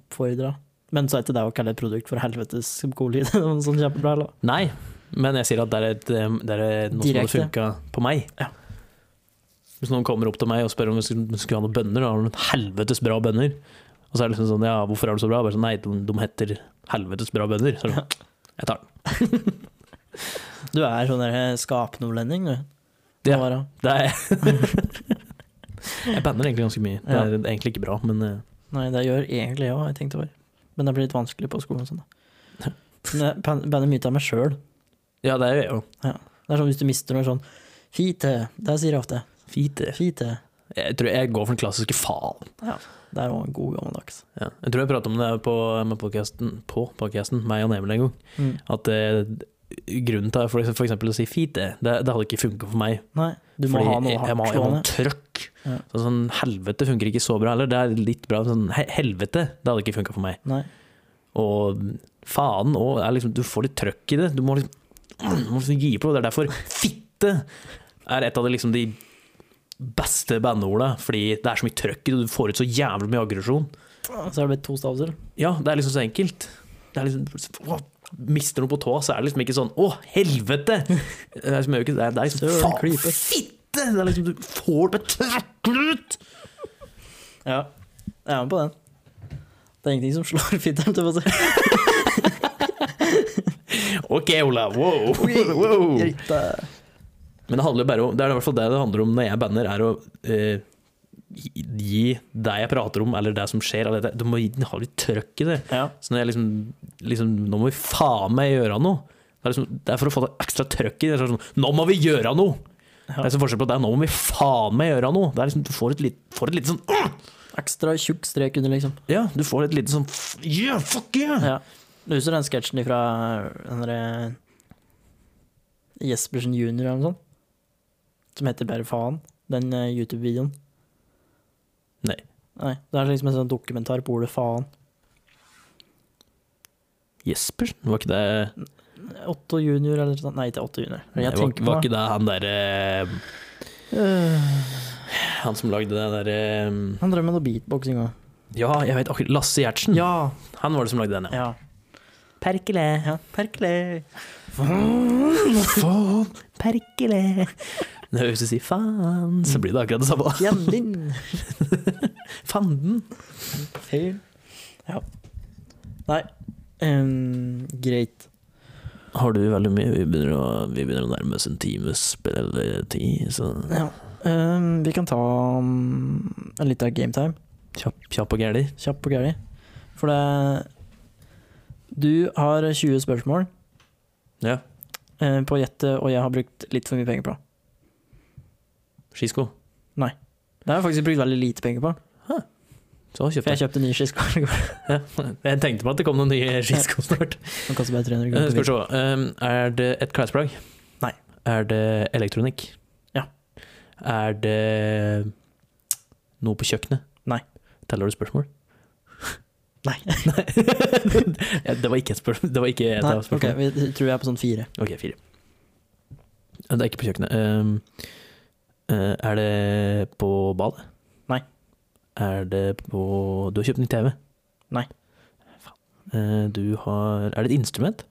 oppfordra. Men så er ikke det å kalle et produkt for helvetes god lyd. [LAUGHS] noe sånn kjempebra, eller? Nei, men jeg sier at det er, et, eh, det er noe som hadde Direkte. funka på meg. Ja. Hvis noen kommer opp til meg og spør om vi skulle, vi skulle ha noen bønner, da har de noen helvetes bra bønner. Og så er det liksom sånn Ja, hvorfor er du så bra? Bare sånn, Nei, de, de heter helvetes bra bønner. Så er det sånn, jeg tar den. Du er sånn der skapnordlending, du. Ja. Må være. [LAUGHS] Det er Jeg banner egentlig ganske mye. Det er egentlig ikke bra, men eh, Nei, det gjør egentlig jeg òg, jeg tenkte over. Men det blir litt vanskelig på skolen og sånn, da. Men jeg ban- banner mye av meg sjøl. ja, det er jo Det er sånn hvis du mister noe sånn Fite. Det sier jeg ofte. fite. Fite. Jeg tror jeg går for den klassiske faen. Det er jo en god gammeldags. Ja. Jeg tror jeg pratet om det her på med podcasten, på podcasten, meg og Nemil en gang. Mm. At eh, grunnen til for, for eksempel å si fite, det, det hadde ikke funka for meg. Nei, du må Fordi ha noe jeg- jeg må- hardt Jeg må slående. ha trøkk. Ja. Så sånn helvete funker ikke så bra heller. Det er litt bra, men sånn he- helvete, det hadde ikke funka for meg. Nei. Og faen og er liksom, Du får litt trøkk i det. Du må liksom, du må liksom gi på. Det er derfor fitte er et av de, liksom, de beste bandeorda. Fordi det er så mye trøkk i det, og du får ut så jævlig mye aggresjon. Så er det blitt to stavser. Ja, det er liksom så enkelt. Det er liksom å, Mister noe på tå, så er det liksom ikke sånn 'Å, helvete!' Det er liksom, det er, det er liksom Søren, Faen, klype. fitte! Det er liksom, du får det trøkker det ut! Ja. Jeg er med på den. Det er ingenting som slår fitte. holdt jeg på å si. [LAUGHS] OK, Olav. Wow. [LAUGHS] wow. Greit. Men det handler jo bare om Det er i hvert fall det det handler om når jeg banner, er å eh, gi- gi det jeg prater om, eller det som skjer, eller det, du må gi- ha litt trøkk i det. Ja. Så når jeg liksom, liksom Nå må vi faen meg gjøre noe. Det er, liksom, det er for å få det ekstra trøkk i det. det. er Sånn, nå må vi gjøre noe! Ja. Det er så forskjell på det. Nå må vi faen meg gjøre noe! Det er liksom, du får et litt, får et lite sånn «Åh!» Ekstra tjukk strek under, liksom. Ja, du får et lite sånn «F- Yeah, fuck yeah! Ja. Du husker den sketsjen fra øh, den derre Jespersen junior eller noe sånt? Som heter bare faen. Den eh, YouTube-videoen. Nei. Nei. Det er liksom en sånn dokumentar på ordet faen. Jespersen, var ikke det Otto junior eller noe sånt. Nei, ikke Otto junior. Nei, Jeg var, tenker på var Øh. ikke det han derre Han som lagde det derre Han drev med noe beatboxing òg. Ja, jeg vet akkurat Lasse Gjertsen. Ja. Han var det som lagde den, ja. ja. Mm. Perkele, Ja, Perkele. faen, perkele. Når Øystein sier faen, så blir det akkurat det samme. Fjellin. Fanden. Feil. Ja. Nei. em, greit. Har du veldig mye? Vi begynner å, vi begynner å nærme oss en times spilletid, så Ja. Em, vi kan ta um, en liten gametime. kjapp, kjapp og gæli. Kjapp og gæli. For det Du har 20 spørsmål Ja. eh, på å gjette, og jeg har brukt litt for mye penger på. Skisko. Det har jeg faktisk brukt veldig lite penger på, Så for kjøpte jeg jeg. kjøpte nye skisko. i går. Ja. Jeg tenkte på at det kom noen nye skisko [LAUGHS] snart. Den koster bare 300 Eh, kroner. Skal vi på se. Um, er det et klesplagg? Nei. Er det elektronikk? Ja. Er det noe på kjøkkenet? Nei. Teller du spørsmål? Nei. [LAUGHS] Nei. Ja, det var ikke et spørsmål. Det var ikke et Nei, av ok, spørsmålene. vi jeg tror jeg er på sånn fire. ok, fire. Ja, Det er ikke på kjøkkenet. Um, eh, er det på badet? Nei. Er det på Du har kjøpt ny TV? Nei. Faen. Eh, du har Er det et instrument?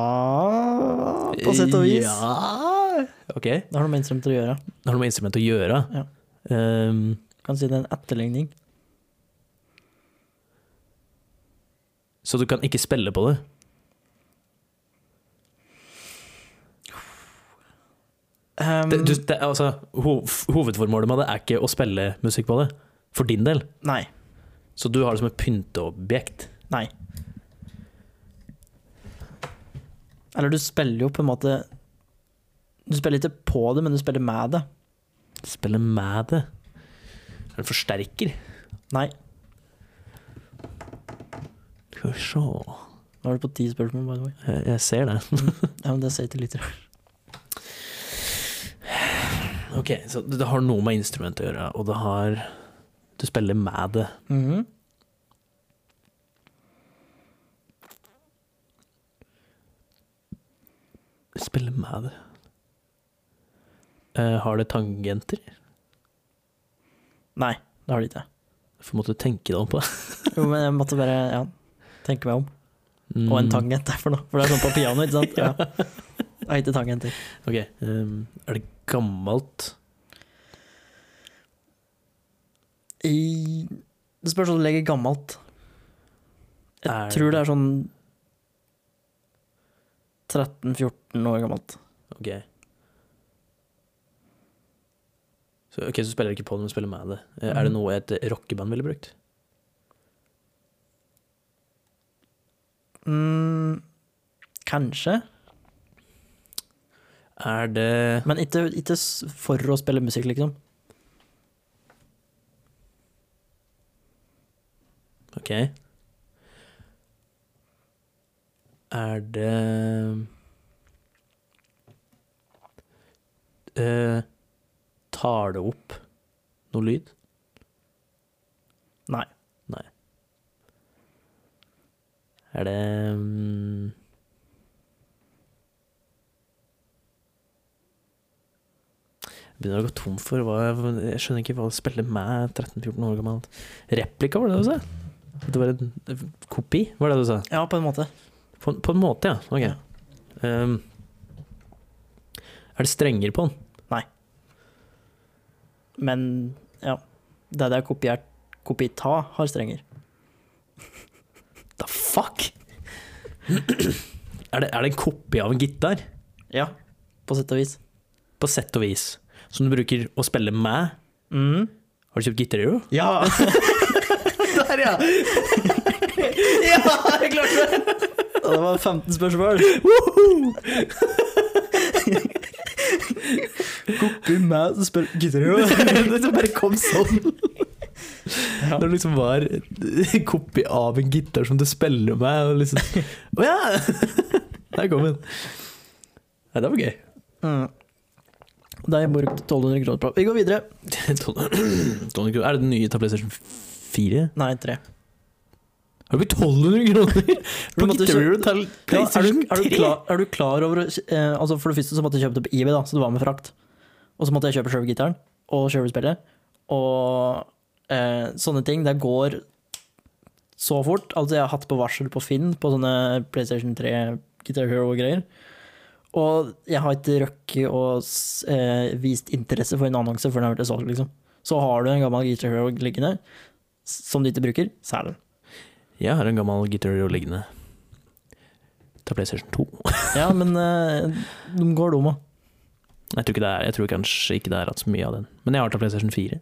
Ja På sett og vis. Ja. Ok. Det har noe med instrument å gjøre. Har du med instrument å gjøre? Ja. Ehm, Kan si det er en etterligning. så du kan ikke spille på det? Um, Ehm, det, du, det er altså, ho- hovedformålet med det er ikke å spille musikk på det, for din del. Nei. Så du har det som et pynteobjekt. Nei. Eller du spiller jo på en måte Du spiller ikke på det, men du spiller med det. Spille med det. Er det en forsterker? Nei. Skal vi se Nå er du på ti spørsmål, by the way. Jeg jeg ser det. [LAUGHS] Ja, men det sier til liter. Ok, Så det det har noe med instrumentet å gjøre, og det har Du spiller med det. Mhm. Du spiller med det. Eh, har det tangenter? Nei, det har de ikke. For måtte du tenke deg om på det. Jo, men jeg måtte bare ja, tenke meg om. Og Mm. en tangent er for noe. For det er sånn på piano, ikke [LAUGHS] sant? Ja. Jeg har ikke tangenter. Ok, ehm, er det gammelt? I, det spørs om du legger gammelt. Jeg Er- tror det er sånn 13-14 år gammelt. Ok. Så, ok, så spiller du ikke på det, men spiller med det. Eh, Er det Mhm. noe et rockeband ville brukt? Mm, kanskje. Er det Men ikke, ikke s- for å spille musikk, liksom. Ok. Er det Eh, Tar det opp noe lyd? Nei. Nei. Er det mm, Jeg begynner å gå tom for hva Jeg skjønner ikke hva det spiller med 13-14 år gammel. Replika, var det det du sa? At Det var en en kopi, var det det du sa? Ja, på en måte. På, på en måte, ja. Ok. Ja. Ehm, er det strenger på den? Men ja. Det det er kopiert Kopita har strenger. The fuck? er, det, er det en kopi av en gitar? Ja, på sett og vis. På sett og vis. Som du bruker å spille med? [LAUGHS] Mm. Har du kjøpt gitar i Ja! [LAUGHS] Der, ja! ja, jeg klarte det! Og det var 15 spørsmål. Kopi meg som spiller [LAUGHS] det bare kom sånn. Ja. Når det liksom var en kopi av en gitar som du spiller med. Og liksom [LAUGHS] Å ja! Der kom den. Nei, det var gøy. Mm. De brukte 1200 kroner på. Vi går videre. Tolv- Er det den nye til PlayStation 4? Nei, tre. Har du brukt 1200 kroner Du på måtte Guitar Hero til Ja, er, du, PlayStation er, du 3? klar, er du klar over eh, altså For det første så måtte jeg kjøpe det på eBay, da, så det var med frakt. Og så måtte jeg kjøpe sjøl gitaren og sjøl spillet. Og eh, sånne ting. Det går så fort. Altså, jeg har hatt på varsel på Finn på sånne PlayStation 3 Guitar Hero-greier. Og jeg har ikke rukket å s- eh, vist interesse for en annonse før den har vært solgt, liksom. Så har du en gammel Guitar Hero liggende s- som du ikke bruker, selg den. Jeg har en gammel Guitar Hero liggende. Til PlayStation 2. Ja, men eh, de går dumme. Jeg tror, ikke det er, jeg tror kanskje ikke det er hatt så mye av den. Men jeg har til PlayStation 4.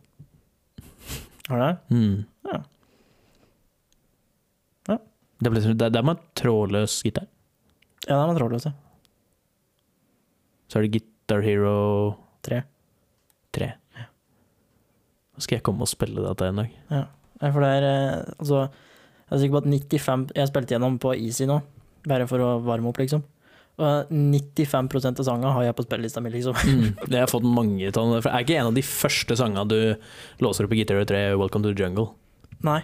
Har du det? Mm. Ja. Ja. Det, er PlayStation- det, det er med trådløs gitar. Ja, den er trådløs, ja. Så er det Guitar Hero Tre. 3. Nå skal jeg komme og spille dette en dag. Ja, For det er eh, Altså, jeg er sikker på at 95 Jeg spilte gjennom på Easy nå, bare for å varme opp, liksom. Og 95 av sangene har jeg på spillelista mi, liksom. Mm. Det har jeg fått mange av. den der, For det er ikke en av de første sangene du låser opp i Guitar Hero 3, 'Welcome to the Jungle'. Nei.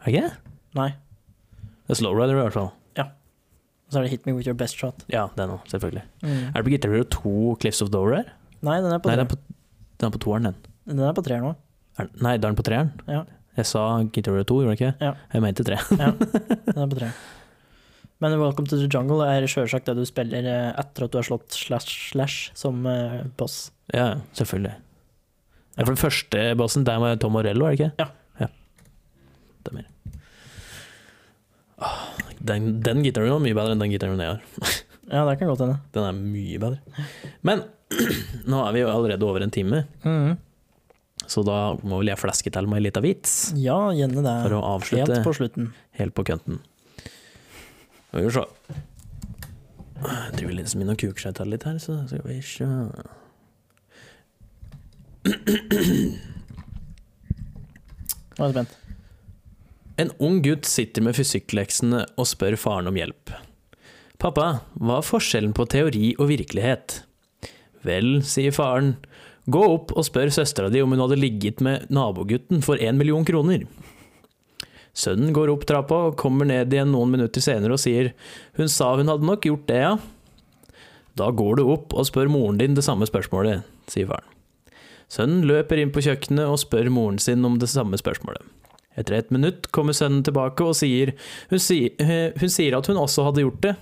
Er det ikke det? Nei. Det er Slow Rider i hvert fall. Og så er det Hit Me With Your Best Shot. Ja, det er noe, selvfølgelig. Mm. Er det på Guitar Hero 2 Cliffs of Dover her? Nei, den er på Nei, den tre. er på, den er på toeren, den. Den er på treer nå. Er, den- nei, da er den på treeren. Ja. Jeg sa Guitar Hero 2, gjorde jeg ikke? Ja. Jeg mente tre. Den er på [LAUGHS] treer. Men Welcome to the Jungle er sjølsagt det du spiller eh, etter at du har slått slash slash som eh, boss. Ja, selvfølgelig. Ja. For den første bossen, der med Tom Morello, er det ikke? Ja. ja. Det er mer. Åh, Den, den gitaren var mye bedre enn den gitaren jeg har. Ja, det kan godt hende. Den er mye bedre. Men [CLEARS THROAT] nå er vi jo allerede over en time, Mhm. så da må vel jeg fleske til med en liten vits Ja, gjerne det. for å avslutte Helt på slutten. helt på kønten. Skal vi se. Jeg driver linsen min og kuker seg til litt her, så skal vi se. Nå er jeg spent. En ung gutt sitter med fysikkleksene og spør faren om hjelp. Pappa, hva er forskjellen på teori og virkelighet? Vel, sier faren, gå opp og spør søstera di om hun hadde ligget med nabogutten for én million kroner. Sønnen går opp trappa og kommer ned igjen noen minutter senere og sier hun sa hun hadde nok gjort det, ja. Da går du opp og spør moren din det samme spørsmålet, sier faren. Sønnen løper inn på kjøkkenet og spør moren sin om det samme spørsmålet. Etter et minutt kommer sønnen tilbake og sier hun, si, eh, hun sier at hun også hadde gjort det.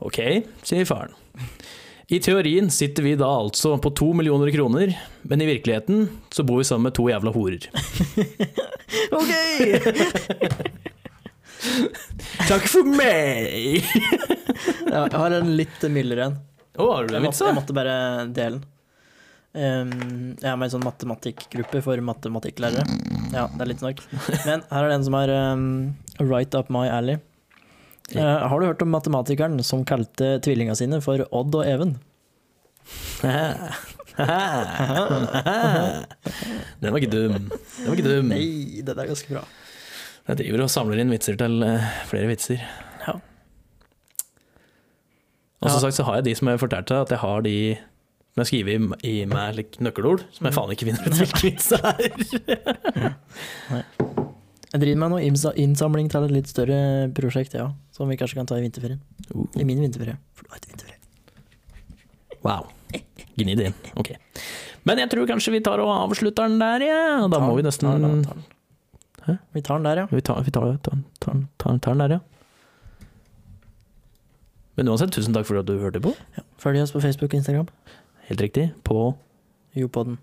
Ok, sier faren. I teorien sitter vi da altså på to millioner kroner, men i virkeligheten så bor vi sammen med to jævla horer. OK! [LAUGHS] Takk for [LAUGHS] meg! Jeg har en litt mildere en. Å, har du Jeg en vits, måtte, jeg da? måtte bare dele den. Ehm, jeg er med i en sånn matematikkgruppe for matematikklærere. Ja, det er litt snork. Men her er det en som er ehm, right up my alley. Eh, har du hørt om matematikeren som kalte tvillinga sine for Odd og Even? Den var ikke dum. Den var ikke dum. Nei, det er ganske bra. Jeg driver og samler inn vitser til eh, flere vitser. Ja. Og som Ja. sagt så har jeg de som jeg fortalte deg, at jeg har de som jeg skriver i, i meg like nøkkelord, som Mm. jeg faen ikke finner ut hvilken vits det er. Jeg driver med noe imsa- innsamling til et litt større prosjekt, ja. Som vi kanskje kan ta i vinterferien. Uh. I min vinterferie. For du har ikke vinterferie. Wow. Gni det inn. Ok. Men jeg tror kanskje vi tar og avslutter den der, ja. Og Da må vi Ta den, nesten ta den, ta Hæ? den. Vi tar den der, ja. Vi tar, vi tar, tar, tar, tar, tar den der, ja. Men uansett, tusen takk for at du hørte på. ja. Følg oss på Facebook og Instagram. Helt riktig. På Jopoden.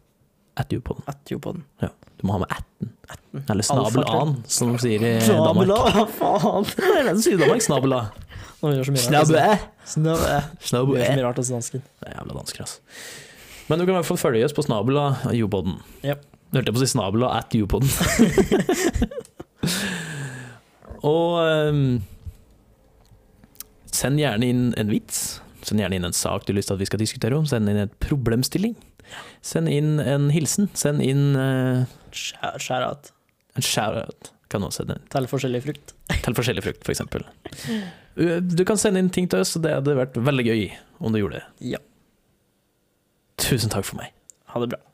at you på den. At Jopoden. Du må ha med atten. Eller Alfa, tror jeg. snabelan, som de sier i Eh, Danmark. Snabela, hva faen? [LAUGHS] Det er den som sier i Danmark. Snabela. Nå gjør så mye rart. Snabbe. Snabbe. Snabbe. Gjør så Det mye rart hos dansken. er jævla dansker, ass. Men du kan i hvert fall følge oss på snabela Jobodden. Jep. Du hørte jeg på å si snabela at Jobodden. [LAUGHS] Og ehm, send gjerne inn en vits. Send gjerne inn en sak du har lyst til at vi skal diskutere om. Send inn en problemstilling. Send inn en hilsen. Send inn eh, Skjær skjær out. en shout-out. Kan også sende Telle forskjellig frukt. Til forskjellig frukt, f.eks. eksempel Uh, Du kan sende inn ting til oss, og det hadde vært veldig gøy om du gjorde det. Ja. Tusen takk for meg. Ha det bra.